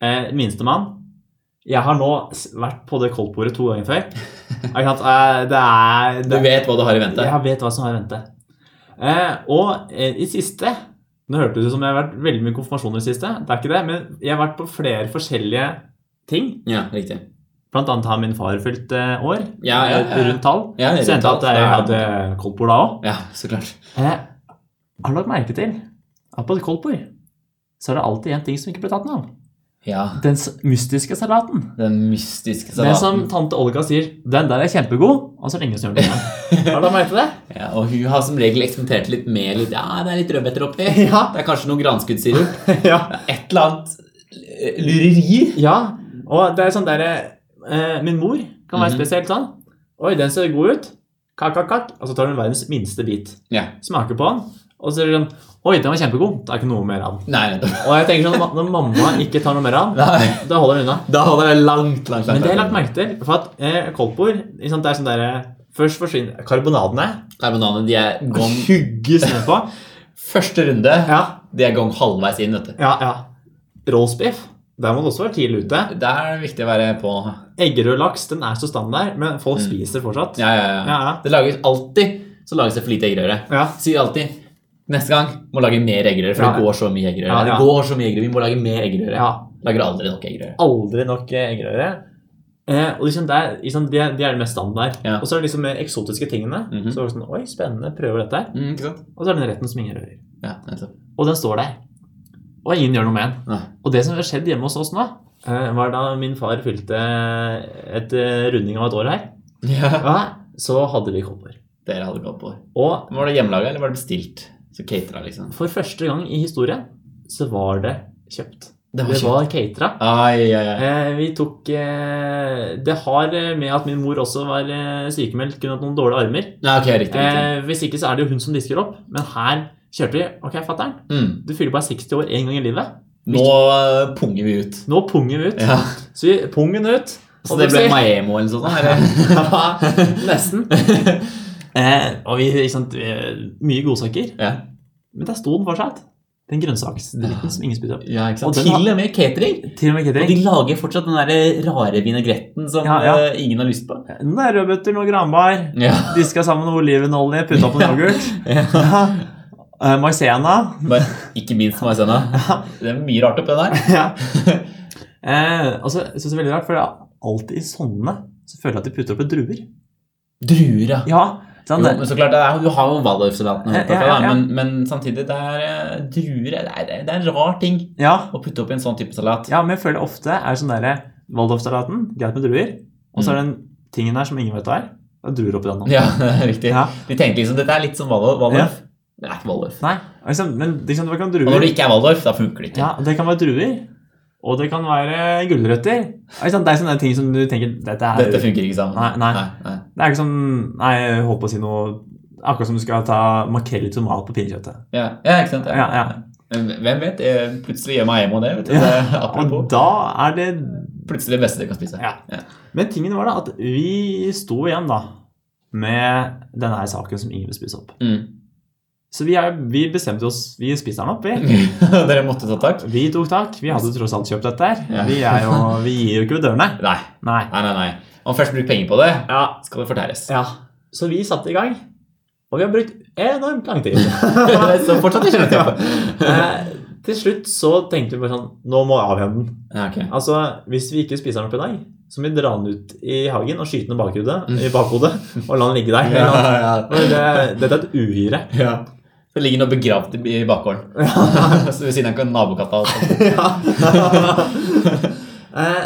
S2: Eh, Minstemann. Jeg har nå s- vært på det koldtbordet to ganger før. Ikke sant? Eh, det er
S1: Du
S2: det,
S1: vet hva du har i vente.
S2: Jeg vet hva som har i vente. Eh, og eh, i siste Nå hørtes det ut som jeg har vært veldig mye konfirmasjoner i siste. Det er ikke det, men jeg har vært på flere forskjellige ting.
S1: Ja, riktig.
S2: Blant annet har min far fylt eh, år.
S1: Ja, ja,
S2: eh,
S1: ja.
S2: Rundt tall.
S1: Ja, det er
S2: Så endte
S1: rundt
S2: at
S1: tall, så
S2: jeg
S1: det
S2: hadde koldtbord da òg.
S1: Ja, så klart.
S2: Eh, har du lagt merke til at på et koldtbord så er det alltid en ting som ikke blir tatt med av?
S1: Ja,
S2: Den s- mystiske salaten.
S1: Den mystiske salaten.
S2: Den som tante Olga sier 'den der er kjempegod', og så er det ingen som gjør det. igjen. Har du lagt merke til det?
S1: ja, og hun har som regel eksperimentert litt med litt Ja, det er litt rødbeter oppi.
S2: Ja.
S1: Det er kanskje noe granskuddsirup.
S2: ja.
S1: Et eller annet eh, lureri.
S2: ja. Og det er sånn derre eh, Min mor kan være
S1: Mhm.
S2: spesielt sånn. 'Oi, den ser god ut'. Kakk, kakk, kakk. Og så tar hun verdens minste bit.
S1: Ja.
S2: Smaker på den, og så er det sånn 'Oi, den var kjempegod'. Det er ikke noe mer av den.
S1: Nei, nettopp.
S2: Og jeg tenker sånn, når ma- når mamma ikke tar noe mer av den,
S1: Nei.
S2: da holder hun unna.
S1: Da holder det langt, langt, langt.
S2: Men det har jeg lagt merke til. For at eh, koldtbord ikke sant, det er sånn der, eh, Først forsvinner karbonadene.
S1: Karbonadene, de er
S2: og
S1: gong
S2: Hugges ned på.
S1: Første runde,
S2: Ja,
S1: de er gong halvveis inn, vet du.
S2: ja, ja. Rollsbiff. Der må du også være tidlig ute.
S1: Der er det viktig å være på.
S2: Eggerød laks den er så standard, men folk
S1: Mm.
S2: spiser fortsatt.
S1: Ja, ja, ja.
S2: Ja, ja.
S1: Det lages alltid så lages det for lite eggerøre.
S2: Ja.
S1: Sier alltid neste gang må lage mer eggerøre, for
S2: Ja, ja.
S1: det går så mye eggerøre.
S2: Ja, ja.
S1: Det går så mye eggerøre, Vi må lage mer eggerøre.
S2: ja.
S1: Lager aldri nok eggerøre.
S2: Aldri nok eh, eggerøre. Eh, og liksom det, er, liksom det, det er det mest standard.
S1: Ja.
S2: Og så er det liksom de eksotiske tingene.
S1: Mhm.
S2: Så er det sånn, Oi, spennende, prøver dette her.
S1: Mm, ikke sant?
S2: Og så er det den retten som ingen rører.
S1: Ja, nettopp.
S2: Og den står der. Og ingen gjør noe med den.
S1: Nei.
S2: Og det som har skjedd hjemme hos oss nå, eh, var da min far fylte et eh, runding av et år her,
S1: Ja.
S2: ja, så hadde vi kopper.
S1: Dere hadde gått på.
S2: Og
S1: Var det hjemmelaga, eller var det bestilt? Så catera, liksom.
S2: for første gang i historien så var det kjøpt.
S1: Det
S2: Det var catera.
S1: Ai, ai, ai.
S2: Eh, vi tok eh, Det har eh, med at min mor også var eh, sykemeldt, kunne hatt noen dårlige armer.
S1: Nei, ok, riktig. riktig.
S2: Eh, hvis ikke så er det jo hun som disker opp. Men her kjørte vi. Ok, fatter'n,
S1: Mm.
S2: du fyller bare 60 år én gang i livet.
S1: Nå eh, punger vi ut.
S2: Nå punger vi ut.
S1: Ja.
S2: Så vi pungen ut.
S1: Så
S2: og
S1: det
S2: du
S1: ble
S2: sier-
S1: Maemo eller sånn? Eller? Nesten.
S2: eh, Og vi, ikke sant, eh, mye godsaker.
S1: Ja.
S2: Men der sto den fortsatt. Den grønnsaksdritten som ingen spytter opp.
S1: ja, ikke
S2: Og
S1: sant?
S2: den
S1: Til og med catering.
S2: Til og med
S1: Og de
S2: catering.
S1: lager fortsatt den der rare vinaigretten som
S2: Ja, ja.
S1: eh, ingen har lyst på.
S2: Nå er det rødbeter, noe granbar.
S1: Ja.
S2: Diska sammen olivenolje, putta på yoghurt. Eh, Maizena.
S1: Bare, ikke minst maisena. Det er mye rart oppi den der.
S2: ja. Eh, altså, jeg synes det er veldig rart, for det er alltid i sånne så føler jeg at de putter opp et druer.
S1: Druer, ja.
S2: Ja,
S1: Jo,
S2: sånn, det-
S1: men så klart, det er, Du har jo Waldorf-salaten,
S2: Ja,
S1: holdt jeg på,
S2: ja,
S1: da,
S2: ja.
S1: men, men samtidig, det er eh, druer det er, det er en rar ting
S2: ja,
S1: å putte opp i en sånn type salat.
S2: ja, men jeg føler ofte er sånn derre Waldorfsalaten, greit med druer, og så er den tingen her som ingen vet hva er, og druer oppi den nå.
S1: Ja, riktig.
S2: Ja.
S1: De tenkte liksom dette er litt som Waldorf. Waldorf. Det er ikke Waldorf.
S2: Nei, liksom, men liksom, det kan
S1: Og når det
S2: druer.
S1: ikke er Waldorf, da funker det ikke.
S2: Ja, det kan være druer. Og det kan være gulrøtter. Ja, ikke sant, Det er sånne ting som du tenker Dette er
S1: Dette funker ikke sammen.
S2: Nei, nei.
S1: nei.
S2: Det er ikke som Nei, jeg holdt på å si noe Akkurat som du skal ta makrell i tomat på pinnekjøttet.
S1: Ja, ja, ikke sant?
S2: Ja, ja.
S1: Men Hvem vet? eh, Plutselig gjør meg hjemme og det. vet du.
S2: Ja.
S1: Det er
S2: Og
S1: Apropos.
S2: da er det
S1: Plutselig det beste du kan spise.
S2: Ja. Men tingen var da at vi sto igjen da med denne her saken som ingen vil spise opp.
S1: Mm.
S2: Så vi, er, vi bestemte oss Vi spiste den opp, vi.
S1: Dere måtte ta tak?
S2: Vi tok tak. Vi hadde tross alt kjøpt dette her.
S1: Ja.
S2: Vi, er jo, vi gir jo ikke ved dørene.
S1: Nei,
S2: Nei.
S1: nei, nei. nei. Om først bruker penger på det,
S2: Ja.
S1: skal det fortæres.
S2: ja. Så vi satte i gang. Og vi har brukt enormt lang tid.
S1: så fortsatt ikke nødt
S2: Eh, til slutt så tenkte vi bare sånn Nå må jeg avhende den.
S1: Ja, ok.
S2: Altså, hvis vi ikke spiser den opp i dag, så må vi dra den ut i hagen og skyte den i bakhodet, i bakhodet og la den ligge der.
S1: Ja,
S2: Eller,
S1: ja,
S2: det, dette er et uhyre.
S1: ja. Det ligger noe begravd i i bakgården. Så ved siden av nabokatta. og sånn. sånt.
S2: Eh,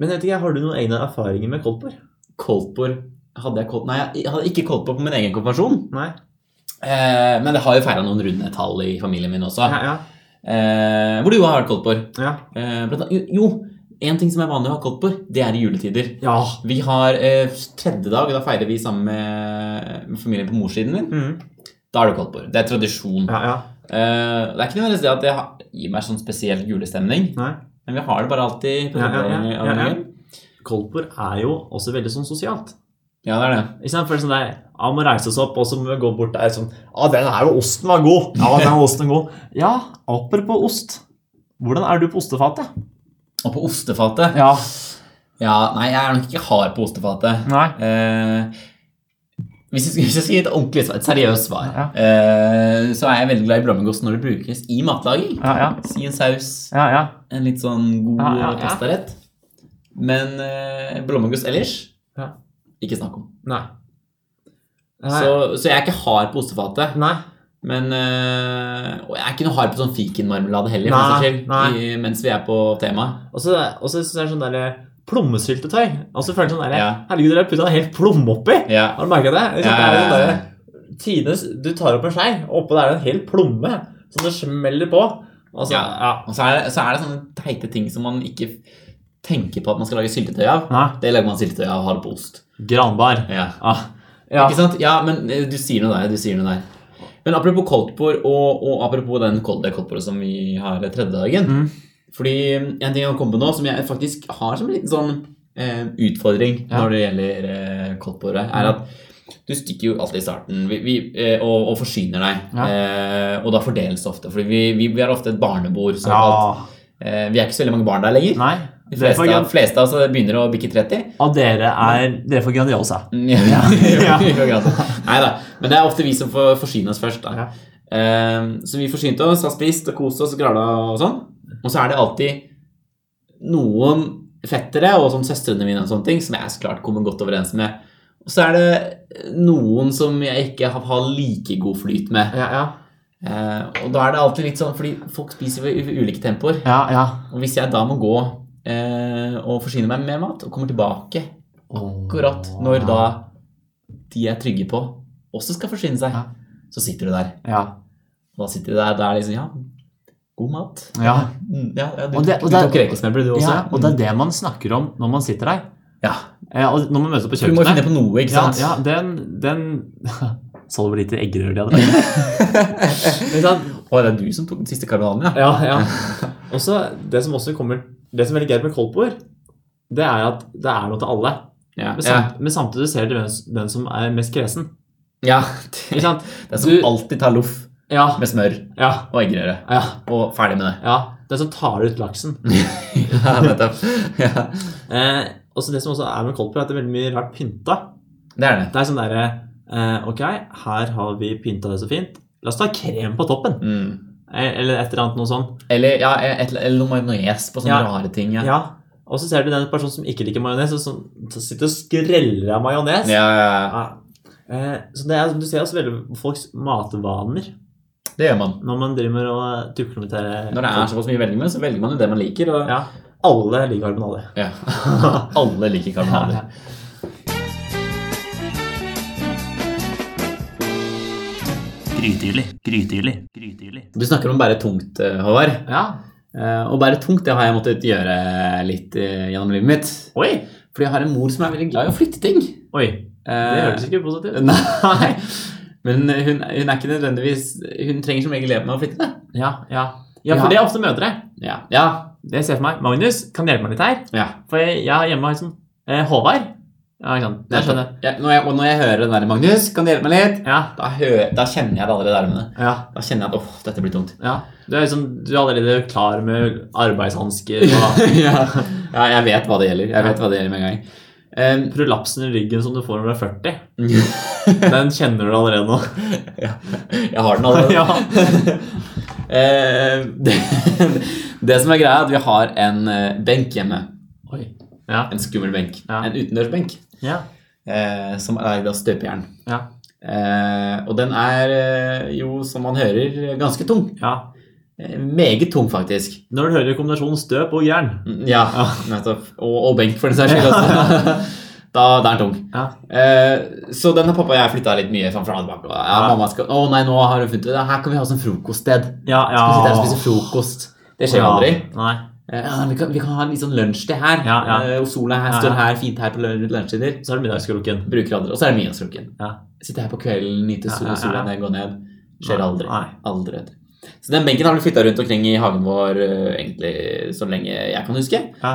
S2: Men jeg vet ikke, har du noen egne erfaringer med kolper?
S1: Koldtbord hadde jeg kold... Nei, jeg hadde ikke koldtbord på min egen konfirmasjon.
S2: Nei.
S1: Eh, men det har jo feira noen runde tall i familien min også.
S2: Ja, ja.
S1: Eh, hvor du har vært koldtbord.
S2: ja.
S1: Eh, blant annet- jo, jo, en ting som er vanlig å ha koldtbord, det er i juletider.
S2: ja.
S1: Vi har eh, tredje dag, da feirer vi sammen med, med familien på morssiden min.
S2: Mm.
S1: Da er det koldtbord. Det er tradisjon.
S2: ja, ja.
S1: Eh, det er ikke nødvendigvis det at det har- gir meg sånn spesiell julestemning,
S2: Nei.
S1: men vi har det bare alltid. på
S2: Ja, ja, ja,
S1: tredje
S2: ja, ja.
S1: dagen.
S2: Kolper er jo også veldig sånn sosialt.
S1: ja, det er det.
S2: Ikke sant? For det er sånn der, ja, må reise oss opp, og så må vi gå bort der sånn Ja, den her osten var god! Ja, den her osten var god. Ja, apropos ost. Hvordan er du på ostefatet?
S1: Og på ostefatet
S2: Ja.
S1: Ja, nei, jeg er nok ikke hard på ostefatet.
S2: Nei.
S1: Eh, hvis jeg, skal- hvis jeg skal gi et ordentlig svar, et seriøst svar,
S2: Ja.
S1: eh, så er jeg veldig glad i blåmuggost når det brukes i matlaging.
S2: Ja, ja.
S1: Si en saus,
S2: Ja, ja.
S1: en litt sånn god
S2: Ja, ja, ja.
S1: pastarett. Men eh, blåmuggost ellers
S2: Ja.
S1: ikke snakk om.
S2: Nei. Så
S1: Så, så jeg er ikke hard på ostefatet.
S2: Nei.
S1: Men øh, Og jeg er ikke noe hard på sånn fikenmarmelade heller, for
S2: Nei,
S1: å si det
S2: nei.
S1: selv, i, mens vi er på temaet.
S2: Og så og så synes jeg det er sånn der plommesyltetøy. Og så føler jeg sånn der,
S1: Ja.
S2: Herregud, dere har putta en hel plomme oppi!
S1: Ja.
S2: Har du merket det? Ikke sant?
S1: Ja, ja,
S2: Det er
S1: ja, ja.
S2: sånn der, Tines, du tar opp en skei, og oppå der er det en hel plomme som det smeller på. Altså,
S1: Ja.
S2: ja.
S1: Og så er, det, så er det sånne teite ting som man ikke tenker på at man skal lage syltetøy av.
S2: Nei.
S1: Det lager man syltetøy av og har det på ost.
S2: Granbar.
S1: Ja.
S2: Ah. Ja.
S1: Ikke sant? Ja, men øh, du sier noe der. du sier noe der. Men apropos koldtbord, og, og apropos den kold- det koldtbordet som vi har tredje dagen
S2: Mhm.
S1: Fordi mm, en ting jeg har kommet på nå, som jeg faktisk har som en liten sånn eh, utfordring
S2: Ja. Mm.
S1: når det gjelder eh, koldtbordet, er at du stikker jo alltid i starten vi, vi, eh, og, og forsyner deg.
S2: Ja.
S1: Eh, og da fordeles det ofte. For vi, vi, vi har ofte et barnebord. Så
S2: Ja.
S1: eh, vi er ikke så veldig mange barn der lenger.
S2: Nei.
S1: De
S2: Dere
S1: fleste,
S2: får,
S1: av-
S2: gran-
S1: fleste av oss eh, begynner å bikke 30.
S4: ah,
S2: av dere er Dere får Grandiosa.
S1: Ja.
S2: Ja.
S1: Nei da. Men det er ofte vi som får forsyne oss først. Da.
S2: Ja.
S1: Ehm, så vi forsynte oss, har spist og kost oss og grala og sånn. Og så er det alltid noen fettere og sånn søstrene mine og sånne ting, som jeg så klart kommer godt overens med. Og så er det noen som jeg ikke har- har like god flyt med.
S4: Ja, ja.
S1: Eh, og da er det alltid litt sånn, fordi folk spiser i u- ulike tempoer.
S4: ja, ja.
S1: Og hvis jeg da må gå eh, og forsyne meg med mer mat, og kommer tilbake akkurat når da de jeg er trygge på, også skal forsyne seg,
S4: Ja.
S1: så sitter du der.
S4: Ja.
S1: Og da sitter du der, da er det liksom Ja, god mat.
S4: ja.
S1: Mm, Ja, ja du,
S4: Og det- og
S1: du
S4: det-
S1: tok rekesmørbrød, du også?
S4: ja. Og det er det man snakker om når man sitter der.
S1: Ja.
S4: Eh, og når man møtes opp på
S1: Du må jo finne
S4: kjøkkenet.
S1: på noe, ikke
S4: Ja,
S1: sant?
S4: ja, den, den Så det hvor lite eggerør de hadde.
S1: Ikke sant? Å, det er du som tok den siste karbonaden, ja.
S2: Ja, ja. Også, det som også kommer Det som er veldig greit med koldtbord, det er at det er noe til alle.
S1: Ja,
S2: Men,
S1: ja.
S2: samt, men samtidig ser du hvem- den som er mest kresen.
S1: ja.
S2: Ikke
S1: Det
S2: sant?
S1: er som
S2: Du-
S1: alltid tar loff
S2: Ja,
S1: med smør
S2: ja,
S1: og eggerøre.
S2: ja,
S1: Og ferdig med det.
S2: ja. Den som tar ut laksen.
S1: Ja, nettopp. Ja.
S2: Eh, også det som også er med koldtbord, er at det er veldig mye rart pynta.
S1: Det er det.
S2: Det er sånn derre eh, Ok, her har vi pynta det så fint. La oss ta krem på toppen.
S1: Mm.
S2: Eh, Eller et eller annet noe sånt.
S1: Eller, ja, et, eller- eller noe majones på sånne
S2: Ja.
S1: rare ting. Ja.
S2: Ja. Og så ser du den personen som ikke liker majones, og som som sitter og skreller av majones.
S1: Ja, ja, ja.
S2: Ja. Eh, så det er, Du ser også veldig folks matvaner
S1: det gjør man.
S2: når man driver og tukler med det.
S1: Når det er såpass mye å velge med, så velger man jo det man liker. Og,
S2: ja, Alle liker karbonade.
S1: ja. Alle liker karbonader.
S3: Grytidlig, grytidlig, grytidlig.
S1: Du snakker om bare tungt, eh, Håvard.
S4: Ja.
S1: Eh, Og bare tungt, det har jeg måttet gjøre litt eh, gjennom livet mitt.
S2: Oi!
S1: Fordi jeg har en mor som er veldig glad i å flytte ting.
S2: Oi, Det
S1: Eh,
S2: høres ikke positivt ut.
S1: Nei. Men hun, hun er ikke nødvendigvis Hun trenger som regel hjelp med å flytte det.
S2: Ja, ja. ja, for
S1: Ja.
S2: det er ofte mødre.
S1: Ja. Ja.
S2: Det ser jeg for meg. Magnus, kan du hjelpe meg litt her?
S1: ja.
S2: For jeg, jeg har hjemme har jeg sånn eh, Håvard. Ja, ikke sant. Jeg skjønner.
S1: sånn. Ja, når, jeg, og når jeg hører den der 'Magnus, kan du hjelpe meg litt?'
S2: Ja,
S1: Da, hø, da kjenner jeg det allerede i armene.
S2: ja,
S1: Da kjenner jeg at 'åh, dette blir tungt'.
S2: ja. Du er, liksom, du er allerede klar med arbeidshansker og
S1: ja. ja, jeg vet hva det gjelder. Jeg vet hva det gjelder med en gang. Um,
S2: prolapsen i ryggen som du får når du er 40. Den kjenner du allerede nå.
S1: ja, jeg har den allerede.
S2: Ja.
S1: Eh, det, det som er greia, er at vi har en eh, benk hjemme.
S2: Oi. Ja.
S1: En skummel benk.
S2: Ja.
S1: En utendørsbenk.
S2: Ja.
S1: eh, som er lagd av støpejern.
S2: Ja.
S1: Eh, og den er eh, jo, som man hører, ganske tung.
S2: ja.
S1: Eh, meget tung, faktisk.
S2: Når du hører kombinasjonen støp og jern.
S1: Mm, Ja, nettopp. Og, og benk, for den saks skyld. også. Da, da er den tung.
S2: Ja.
S1: Eh, så den har pappa og jeg flytta litt mye fram og tilbake. og, Ja,
S2: Ja.
S1: mamma skal, å nei, nå har hun funnet ut Her kan vi ha sånn frokoststed.
S2: Ja, ja.
S1: Skal vi sitte her og spise frokost. Det skjer jo
S2: Ah. Ja.
S1: aldri.
S2: Nei.
S1: Eh, Ja, vi, kan, vi kan ha litt sånn lunsj til her.
S2: Ja, ja.
S1: Eh, og sola her,
S2: Ja,
S1: står
S2: ja.
S1: her, fint her på lun- lunsjtider.
S2: Så er det middagskroken.
S1: Bruker andre. Og så er det middagskroken.
S2: Ja.
S1: Sitte her på kvelden, nyte
S2: Ja,
S1: sol,
S2: ja, ja.
S1: sola ned, gå ned. Skjer
S2: Nei,
S1: aldri.
S2: nei.
S1: Aldri. vet du. Så den benken har blitt flytta rundt omkring i hagen vår eh, egentlig så lenge jeg kan huske.
S2: Ja.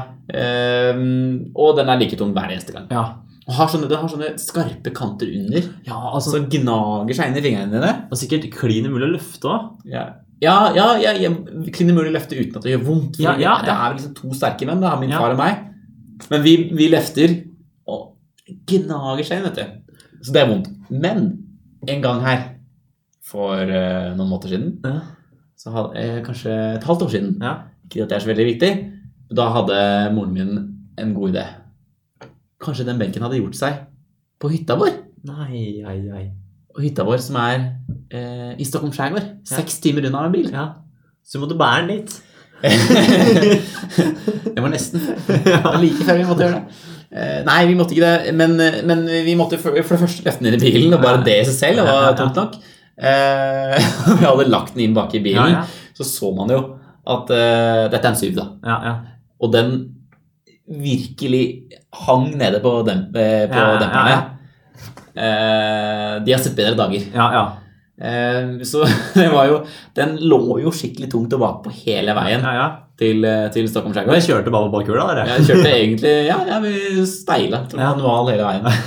S1: Ehm, og den er like tung hver eneste gang.
S2: Ja.
S1: Og har sånne, den har sånne skarpe kanter under
S2: ja altså,
S1: som gnager seg inn i fingrene dine.
S2: og sikkert klin umulig å løfte òg.
S1: Ja, ja, ja, ja, ja kunne mulig løfte uten at det gjør vondt. for
S2: Ja, ja,
S1: Det
S2: ja.
S1: er liksom to sterke menn, da, min
S2: Ja.
S1: far og meg. Men vi, vi løfter og gnager seg inn, vet du. Så det er vondt. Men en gang her for eh, noen måneder siden,
S2: Ja.
S1: så hadde, eh, kanskje et halvt år siden,
S2: Ja.
S1: ikke at det er så veldig viktig, da hadde moren min en god idé. Kanskje den benken hadde gjort seg på hytta vår?
S2: Nei, ei, ei.
S1: Og hytta vår som er eh, i Stockholm skjærgård. Seks timer unna med bil.
S2: Ja. Så måtte du bære den dit.
S1: det var nesten Det var like før vi måtte gjøre det. Eh, nei, vi måtte ikke det, men, eh, men vi måtte for, for det første løfte den inn i bilen, og bare det i seg selv var tungt nok. Eh, vi hadde lagt den inn bak i bilen,
S2: Ja, ja.
S1: så så man jo at eh, Dette er en syv, da.
S2: Ja, ja.
S1: Og den virkelig hang nede på, dem, eh, på
S2: Ja, ja,
S1: demperne.
S2: ja.
S1: Eh, de har sett bedre dager.
S2: Ja, ja.
S1: Eh, så det var jo Den lå jo skikkelig tungt og bakpå hele veien
S2: ja, ja.
S1: til, eh, til Stockholm
S2: Men
S1: skjærgård.
S2: jeg kjørte bare på kula, dere.
S1: Jeg kjørte egentlig Ja, ja vi steila til
S2: Ja.
S1: manual hele veien.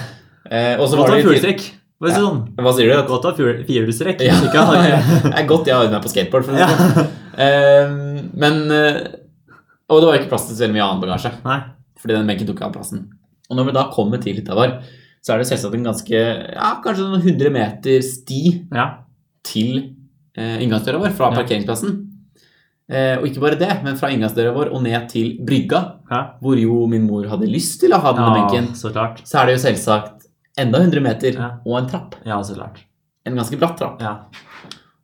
S1: Eh, og så
S2: Godt
S1: var
S2: å ha
S1: det litt-
S2: fjulstrekk. Bare si sånn.
S1: Hva sier du?
S2: Godt å ha fjul- firehjulstrekk.
S1: Ja,
S2: Ikke ha-
S1: ja. Det er godt jeg har øvd meg på skateboard. For å si det sånn. Eh, men eh, Og det var ikke plass til så veldig mye annen bagasje.
S2: Nei.
S1: Fordi den benken tok ikke av plassen. Og når vi da kommer til hytta vår, så er det selvsagt en ganske Ja, kanskje noen 100 meter sti
S2: Ja.
S1: til eh, inngangsdøra vår fra
S2: Ja.
S1: parkeringsplassen. Eh, og ikke bare det, men fra inngangsdøra vår og ned til brygga,
S2: Hæ?
S1: hvor jo min mor hadde lyst til å ha denne benken,
S2: så klart.
S1: så er det jo selvsagt enda 100 meter
S2: Ja.
S1: og en trapp.
S2: Ja, så klart.
S1: En ganske bratt trapp.
S2: Ja.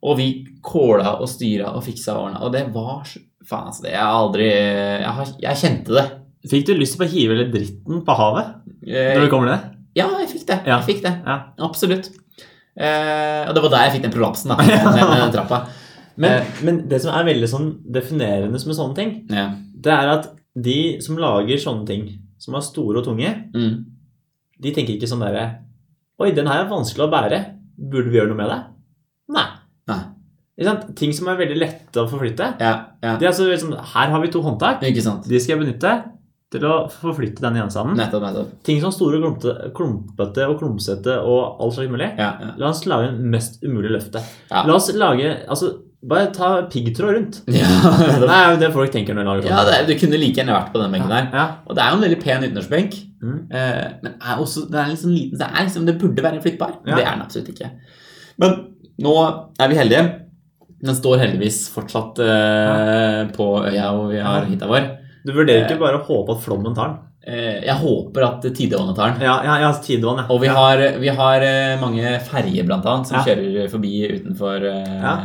S1: Og vi kåla og styra og fiksa og ordna, og det var så Faen, altså. Det jeg har aldri jeg, har, jeg kjente det.
S2: Fikk du lyst på å hive hele dritten på havet
S1: Eh,
S2: når du kommer ned?
S1: Ja, jeg fikk det.
S2: Ja.
S1: Jeg fikk det.
S2: Ja.
S1: Absolutt. Eh, og det var der jeg fikk den prolapsen, da. Ned med den trappa.
S2: Men, men det som er veldig sånn definerende med sånne ting,
S1: Ja.
S2: det er at de som lager sånne ting, som er store og tunge,
S1: Mm.
S2: de tenker ikke sånn derre Oi, den her er vanskelig å bære. Burde vi gjøre noe med det? Nei.
S1: Nei.
S2: Ikke sant? Ting som er veldig lette å forflytte.
S1: Ja, ja.
S2: Det er så veldig sånn, Her har vi to håndtak.
S1: Ikke sant.
S2: De skal jeg benytte til å forflytte denne gjenstanden.
S1: Nettopp, nettopp.
S2: Ting som store, klumpete, klumpete og klumsete og alt slags mulig.
S1: Ja, ja.
S2: La oss lage en mest umulig løfte.
S1: Ja.
S2: La oss lage Altså, bare ta piggtråd rundt. Det
S1: Ja,
S2: er jo det folk tenker når de lager
S1: ja
S2: sånt.
S1: det, er- du kunne like gjerne vært på den benken der.
S2: ja.
S1: Og det er jo en veldig pen utendørsbenk.
S2: Mm.
S1: eh, Men er også, det er liksom liten Det, er liksom, det burde være flyttbar.
S2: Ja.
S1: Det er den absolutt ikke. Men nå er vi heldige. Den står heldigvis fortsatt eh, på øya hvor vi har
S2: Ja.
S1: hytta vår.
S2: Du vurderer ikke bare å håpe at flommen tar den.
S1: Eh, Jeg håper at tideåndet tar den.
S2: Ja, ja, ja tidevann, ja.
S1: Og vi har, vi har eh, mange ferger blant annet som
S2: Ja.
S1: kjører forbi utenfor eh,
S2: Ja.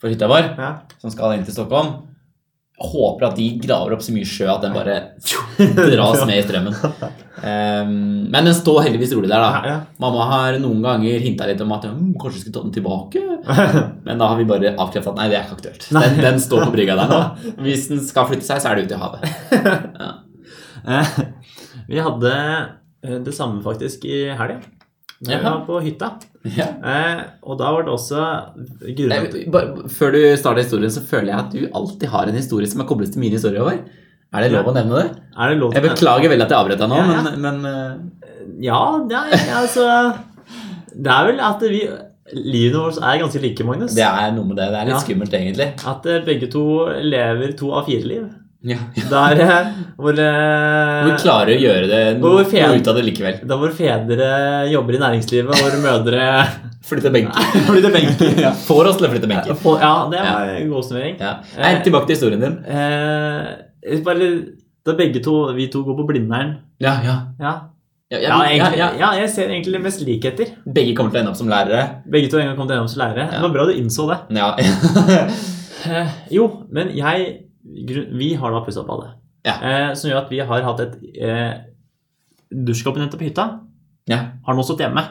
S1: for hytta vår,
S2: ja.
S1: som skal inn til Stockholm. Håper at de graver opp så mye sjø at den bare dras med i strømmen. Ehm, men den står heldigvis rolig der, da.
S2: ja,
S1: Mamma har noen ganger hinta litt om at mm, kanskje vi skulle ta den tilbake.
S2: ja.
S1: Men da har vi bare avkreftet at nei, det er ikke aktuelt. Den, den står på brygga der nå. Hvis den skal flytte seg, så er det ut i havet.
S2: Eh, Vi hadde eh, det samme faktisk i helga. Da vi
S1: Jaha.
S2: var på hytta.
S1: Ja.
S2: Eh, Og da var det også grunnet
S1: Jeg, bare, før du starter historien, så føler jeg at du alltid har en historie som er koblet til mine historier. Over. Er det lov å nevne det?
S2: Er det lov
S1: Jeg beklager veldig at jeg avbrøt deg nå,
S2: Ja, ja.
S1: men, men eh,
S2: Ja, nei, altså Det er vel at vi Livene våre er ganske like, Magnus.
S1: det er noe med det. Det er litt
S2: Ja.
S1: skummelt, egentlig.
S2: At eh, begge to lever to av fire liv.
S1: Ja.
S2: Der eh, hvor eh,
S1: Vi klarer å gjøre det noe,
S2: Hvor fjen-
S1: noe ut av det likevel.
S2: Da våre fedre jobber i næringslivet, og våre mødre
S1: Flytte benker.
S2: flytter benker.
S1: Ja. Får oss til å flytte benker.
S2: Få- Ja, det var en god oppsummering.
S1: Ja. Nei, tilbake til historien din.
S2: Eh, bare, da begge to, vi to går på Blindern
S1: Ja, ja.
S2: ja.
S1: Ja,
S2: Ja,
S1: ja, ja,
S2: egentlig, ja,
S1: ja.
S2: jeg ser egentlig mest likheter.
S1: Begge kommer til å ende opp som lærere.
S2: Begge to en gang kom til NM som lærere.
S1: Ja.
S2: Det var bra du innså det.
S1: Ja.
S2: Eh, jo, men jeg grunn- Vi har da pussa opp alle.
S1: Ja.
S2: Eh, som gjør at vi har hatt et eh, dusjkabinett på hytta.
S1: ja.
S2: Har nå stått hjemme.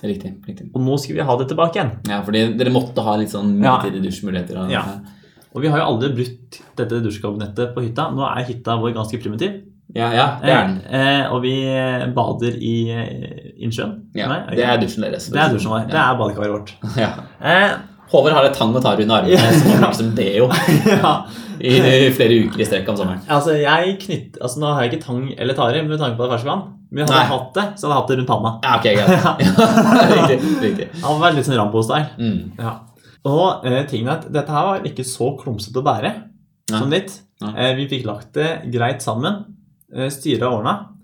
S1: Riktig. riktig.
S2: Og nå skal vi ha det tilbake igjen.
S1: Ja, fordi dere måtte ha litt sånn
S2: Ja.
S1: midlertidige dusjmuligheter. og-
S2: Ja. Og vi har jo aldri brukt dette dusjkabinettet på hytta. Nå er hytta vår ganske primitiv.
S1: ja, ja, det er den.
S2: Eh, og vi bader i eh, innsjøen.
S1: Ja,
S2: Nei,
S1: det er dusjen deres.
S2: Det er dusjen vår. Det er badekaret vårt.
S1: Ja.
S2: Eh,
S1: Håvard har et tang og tar under armene som han bruker som deo
S2: ja.
S1: i i flere uker i strekk om sommeren.
S2: Altså, jeg knytt, altså, nå har jeg ikke tang eller tare med tanke på det ferskvann. Men hadde
S1: Nei.
S2: jeg hatt det, så hadde jeg hatt det rundt panna.
S1: Ja, ok, greit. riktig. riktig.
S2: Det hadde vært litt sånn Rambo-style.
S1: Mm.
S2: Ja. Og eh, tingen er at dette her var ikke så klumsete å bære
S1: Nei.
S2: som ditt.
S1: Nei.
S2: Eh, vi fikk lagt det greit sammen. Eh, Styra og ordna.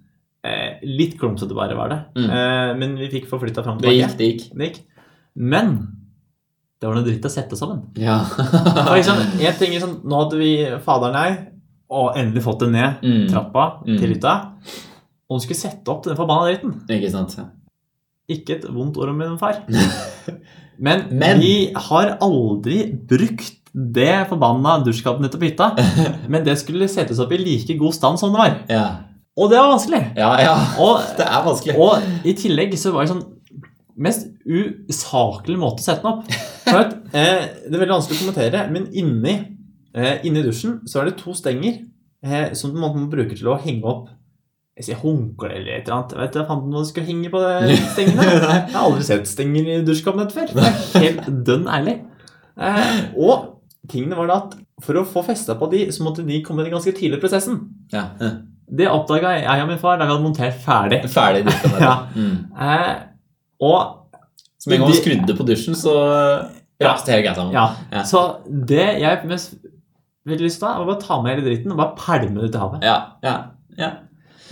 S2: Eh, litt klumsete å bære var det,
S1: Mm.
S2: eh, men vi fikk forflytta fram
S1: Det
S2: til
S1: gikk, det gikk.
S2: Det gikk. Men det var noe dritt å sette sammen.
S1: Ja.
S2: Det var liksom, jeg tenker sånn, Nå hadde vi faderen her, og endelig fått det ned
S1: Mm.
S2: trappa
S1: Mm.
S2: til hytta. Og hun skulle sette opp den forbanna dritten.
S1: Ikke sant.
S2: Ikke et vondt ord om min far. Men,
S1: Men-
S2: vi har aldri brukt det forbanna dusjkabinettet på hytta. Men det skulle settes opp i like god stand som det var.
S1: Ja.
S2: Og det var vanskelig.
S1: ja, ja.
S2: Og,
S1: Det er vanskelig.
S2: og i tillegg så var det sånn mest usaklig måte å sette den opp. For at, eh, det er veldig vanskelig å kommentere, men inni, eh, inni dusjen så er det to stenger eh, som man bruker til å henge opp jeg sier håndkle eller et eller annet. Jeg vet ikke hva du skulle henge på de stengene. Jeg har aldri sett stenger i dusjkabinett før. Det er helt dønn ærlig. Eh, og tingene var da at for å få festa på de, så måtte de komme ganske tidlig i prosessen.
S1: Ja.
S2: Det oppdaga jeg og min far da vi hadde montert ferdig.
S1: Ferdig dusja.
S2: Ja.
S1: Mm.
S2: Eh, og
S1: Så med en gang man skrudde på dusjen, så raste hele greia sammen.
S2: Ja.
S1: Ja.
S2: Så det jeg mest ville lyst til, da, var bare å ta med hele dritten og bare pælme det ut i havet.
S1: Ja. ja.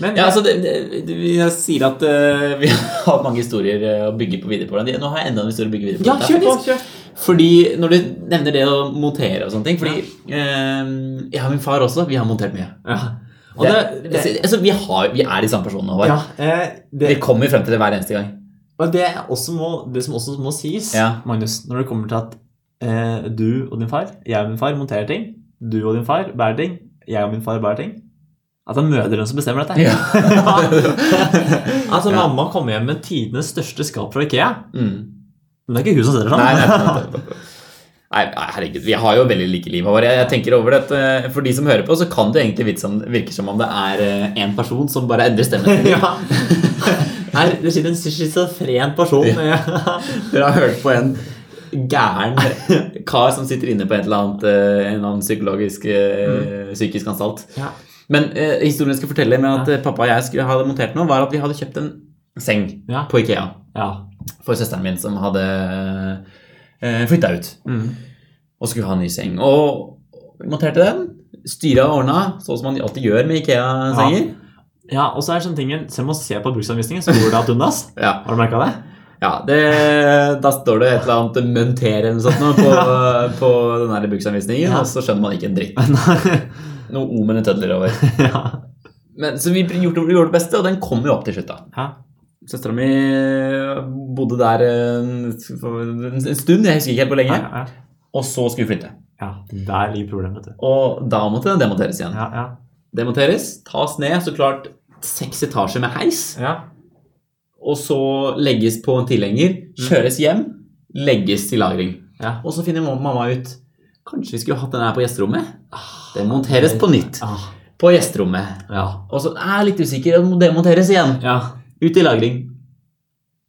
S2: Men
S1: Ja, altså, det, det, det- vi- jeg sier at eh, vi har mange historier eh, å bygge på videre på. Nå har jeg enda en historie å bygge videre på.
S2: Ja,
S1: Det er
S2: kjør på!
S1: faktisk-
S2: Kjør.
S1: Fordi når du nevner det å montere og sånne ting Fordi eh, jeg og min far også, vi har montert mye.
S2: Ja.
S1: Og det, altså, vi, har, vi er de samme personene. Håvard.
S2: ja, eh,
S1: Vi
S2: det,
S1: kommer frem til det hver eneste gang.
S2: og det, er også må, det som også må sies,
S1: Ja.
S2: Magnus, når det kommer til at eh, du og din far, jeg og min far monterer ting, du og din far bærer ting, jeg og min far bærer ting At det er mødrene som bestemmer dette.
S1: Ja.
S2: altså,
S1: Ja.
S2: mamma kommer hjem med tidenes største skap fra Ikea.
S1: Mm.
S2: Men det er ikke hun som sitter sånn.
S1: Nei, nei, nei, nei, nei. Nei, nei, herregud, Vi har jo veldig like liv. Håvard. Jeg, jeg tenker over det at, eh, For de som hører på, så kan det egentlig virke som, virke som om det er én person som bare endrer stemmen.
S2: Ja. Her, det sitter en schizofren person.
S1: Dere har hørt på en gæren kar som sitter inne på et eller annet, eh, en eller annen psykologisk eh, psykisk anstalt.
S2: Ja.
S1: Men eh, historien jeg skal fortelle med at eh, pappa og jeg skulle ha montert noe, var at vi hadde kjøpt en seng
S2: Ja.
S1: på Ikea
S2: ja.
S1: for søsteren min som hadde eh, flytta ut. og skulle ha en ny seng. Og vi monterte den. Styra og ordna, sånn som man alltid gjør med Ikea-senger.
S2: ja, og så er sånn tingen Selv om man ser på bruksanvisningen, så går det ad undas.
S1: Ja.
S2: Har du merka det?
S1: Ja. det, da står det et eller annet 'montere' eller noe sånt nå på, på den her bruksanvisningen,
S2: Ja.
S1: og så skjønner man ikke en dritt.
S2: Nei.
S1: Noe omen og tødler over.
S2: ja.
S1: Men, så vi gjorde, vi gjorde det beste, og den kom jo opp til slutt, da.
S2: Ja.
S1: Søstera mi eh, bodde der en, en stund, jeg husker ikke helt hvor
S2: Ja,
S1: lenge,
S2: ja,
S1: og så skulle vi flytte.
S2: ja. Der ligger problemet, vet du.
S1: Og da måtte den demonteres igjen.
S2: Ja, ja.
S1: Demonteres, tas ned, så klart seks etasjer med heis.
S2: ja.
S1: og så legges på en tilhenger,
S2: Mm.
S1: kjøres hjem, legges til lagring.
S2: Ja.
S1: Og så finner mam- mamma ut Kanskje vi skulle hatt den her på gjesterommet? Den monteres på nytt.
S2: Ah.
S1: På gjesterommet.
S2: Ja.
S1: Og så er jeg litt usikker, og den monteres igjen.
S2: ja.
S1: Ut i lagring.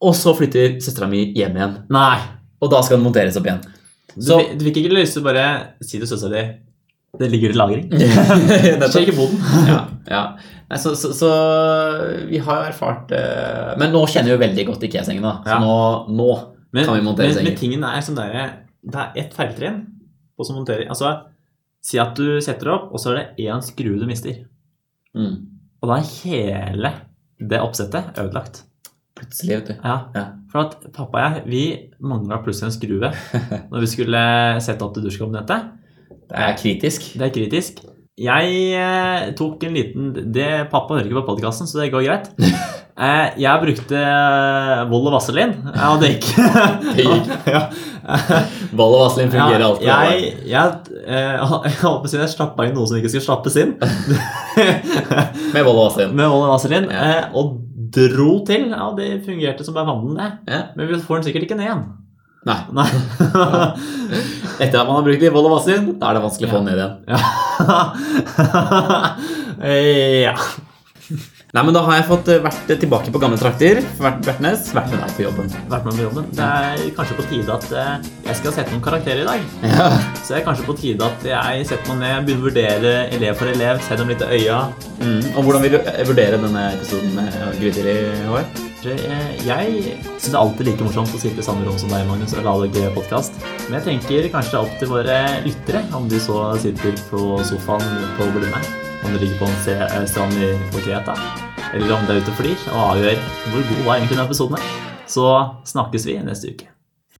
S1: Og så flytter søstera mi hjem igjen.
S2: Nei.
S1: Og da skal den monteres opp igjen.
S2: Du,
S1: Så
S2: fi- du fikk ikke lyst til å bare si til søstera di det ligger i lagring.
S1: Nettopp.
S2: Skjer ikke boden.
S1: ja, ja. Nei, så, så, så vi har jo erfart eh, Men nå kjenner vi jo veldig godt IKEA-sengen, da. Så
S2: Ja.
S1: nå, nå
S2: Men,
S1: kan vi montere
S2: men, men
S1: senger.
S2: tingen er sånn der, Det er ett feiltrinn på som monterer. Altså, si at du setter opp, og så er det én skrue du mister.
S1: Mm.
S2: Og da er hele det oppsettet ødelagt.
S1: Plutselig, vet du.
S2: Ja.
S1: Ja.
S2: For at pappa og jeg vi mangla plutselig en skrue når vi skulle sette opp til dusjkabinettet.
S1: Det er kritisk.
S2: Det er kritisk. Jeg eh, tok en liten det, Pappa hører ikke på podkasten, så det går greit. Eh, jeg brukte eh, vold og vaselin, ja, og det gikk.
S1: Det gikk.
S2: ja.
S1: Ball og vaselin fungerer
S2: Ja,
S1: alltid.
S2: Jeg, jeg, eh, jeg holdt på å si jeg slappa inn noe som ikke skulle slappes inn.
S1: Med ball og vaselin.
S2: Med Oliver Vaselin.
S1: Ja.
S2: eh, Og dro til. Ja, det fungerte som bare vann, det.
S1: Ja.
S2: Men vi får den sikkert ikke ned igjen.
S1: Nei.
S2: Nei.
S1: Etter at man har brukt litt ball og vaselin, da er det vanskelig å få den ned igjen.
S2: Eh, ja.
S1: Nei, men Da har jeg fått eh, vært tilbake på gamle trakter. Vært, vært, nes, vært med deg på jobben.
S2: Vært med på jobben. Det er kanskje på tide at eh, jeg skal sette noen karakterer i dag.
S1: Ja.
S2: Så det er kanskje på tide at jeg setter meg ned, begynner å vurdere elev for elev, se dem litt i øya.
S1: Mm. Og Hvordan vil du eh, vurdere denne episoden med eh, Grytidlig hår?
S2: Det, eh, Jeg syns det er alltid like morsomt å sitte i samme rom som deg, Magnus, og lage podkast. Men jeg tenker kanskje det er opp til våre lyttere, om de så sitter på sofaen på Blume, om de ligger på en se- eh, strand i- på Kreta, eller om de er ute og flyr, og avgjør hvor god var egentlig denne episoden. her. Så snakkes vi neste uke.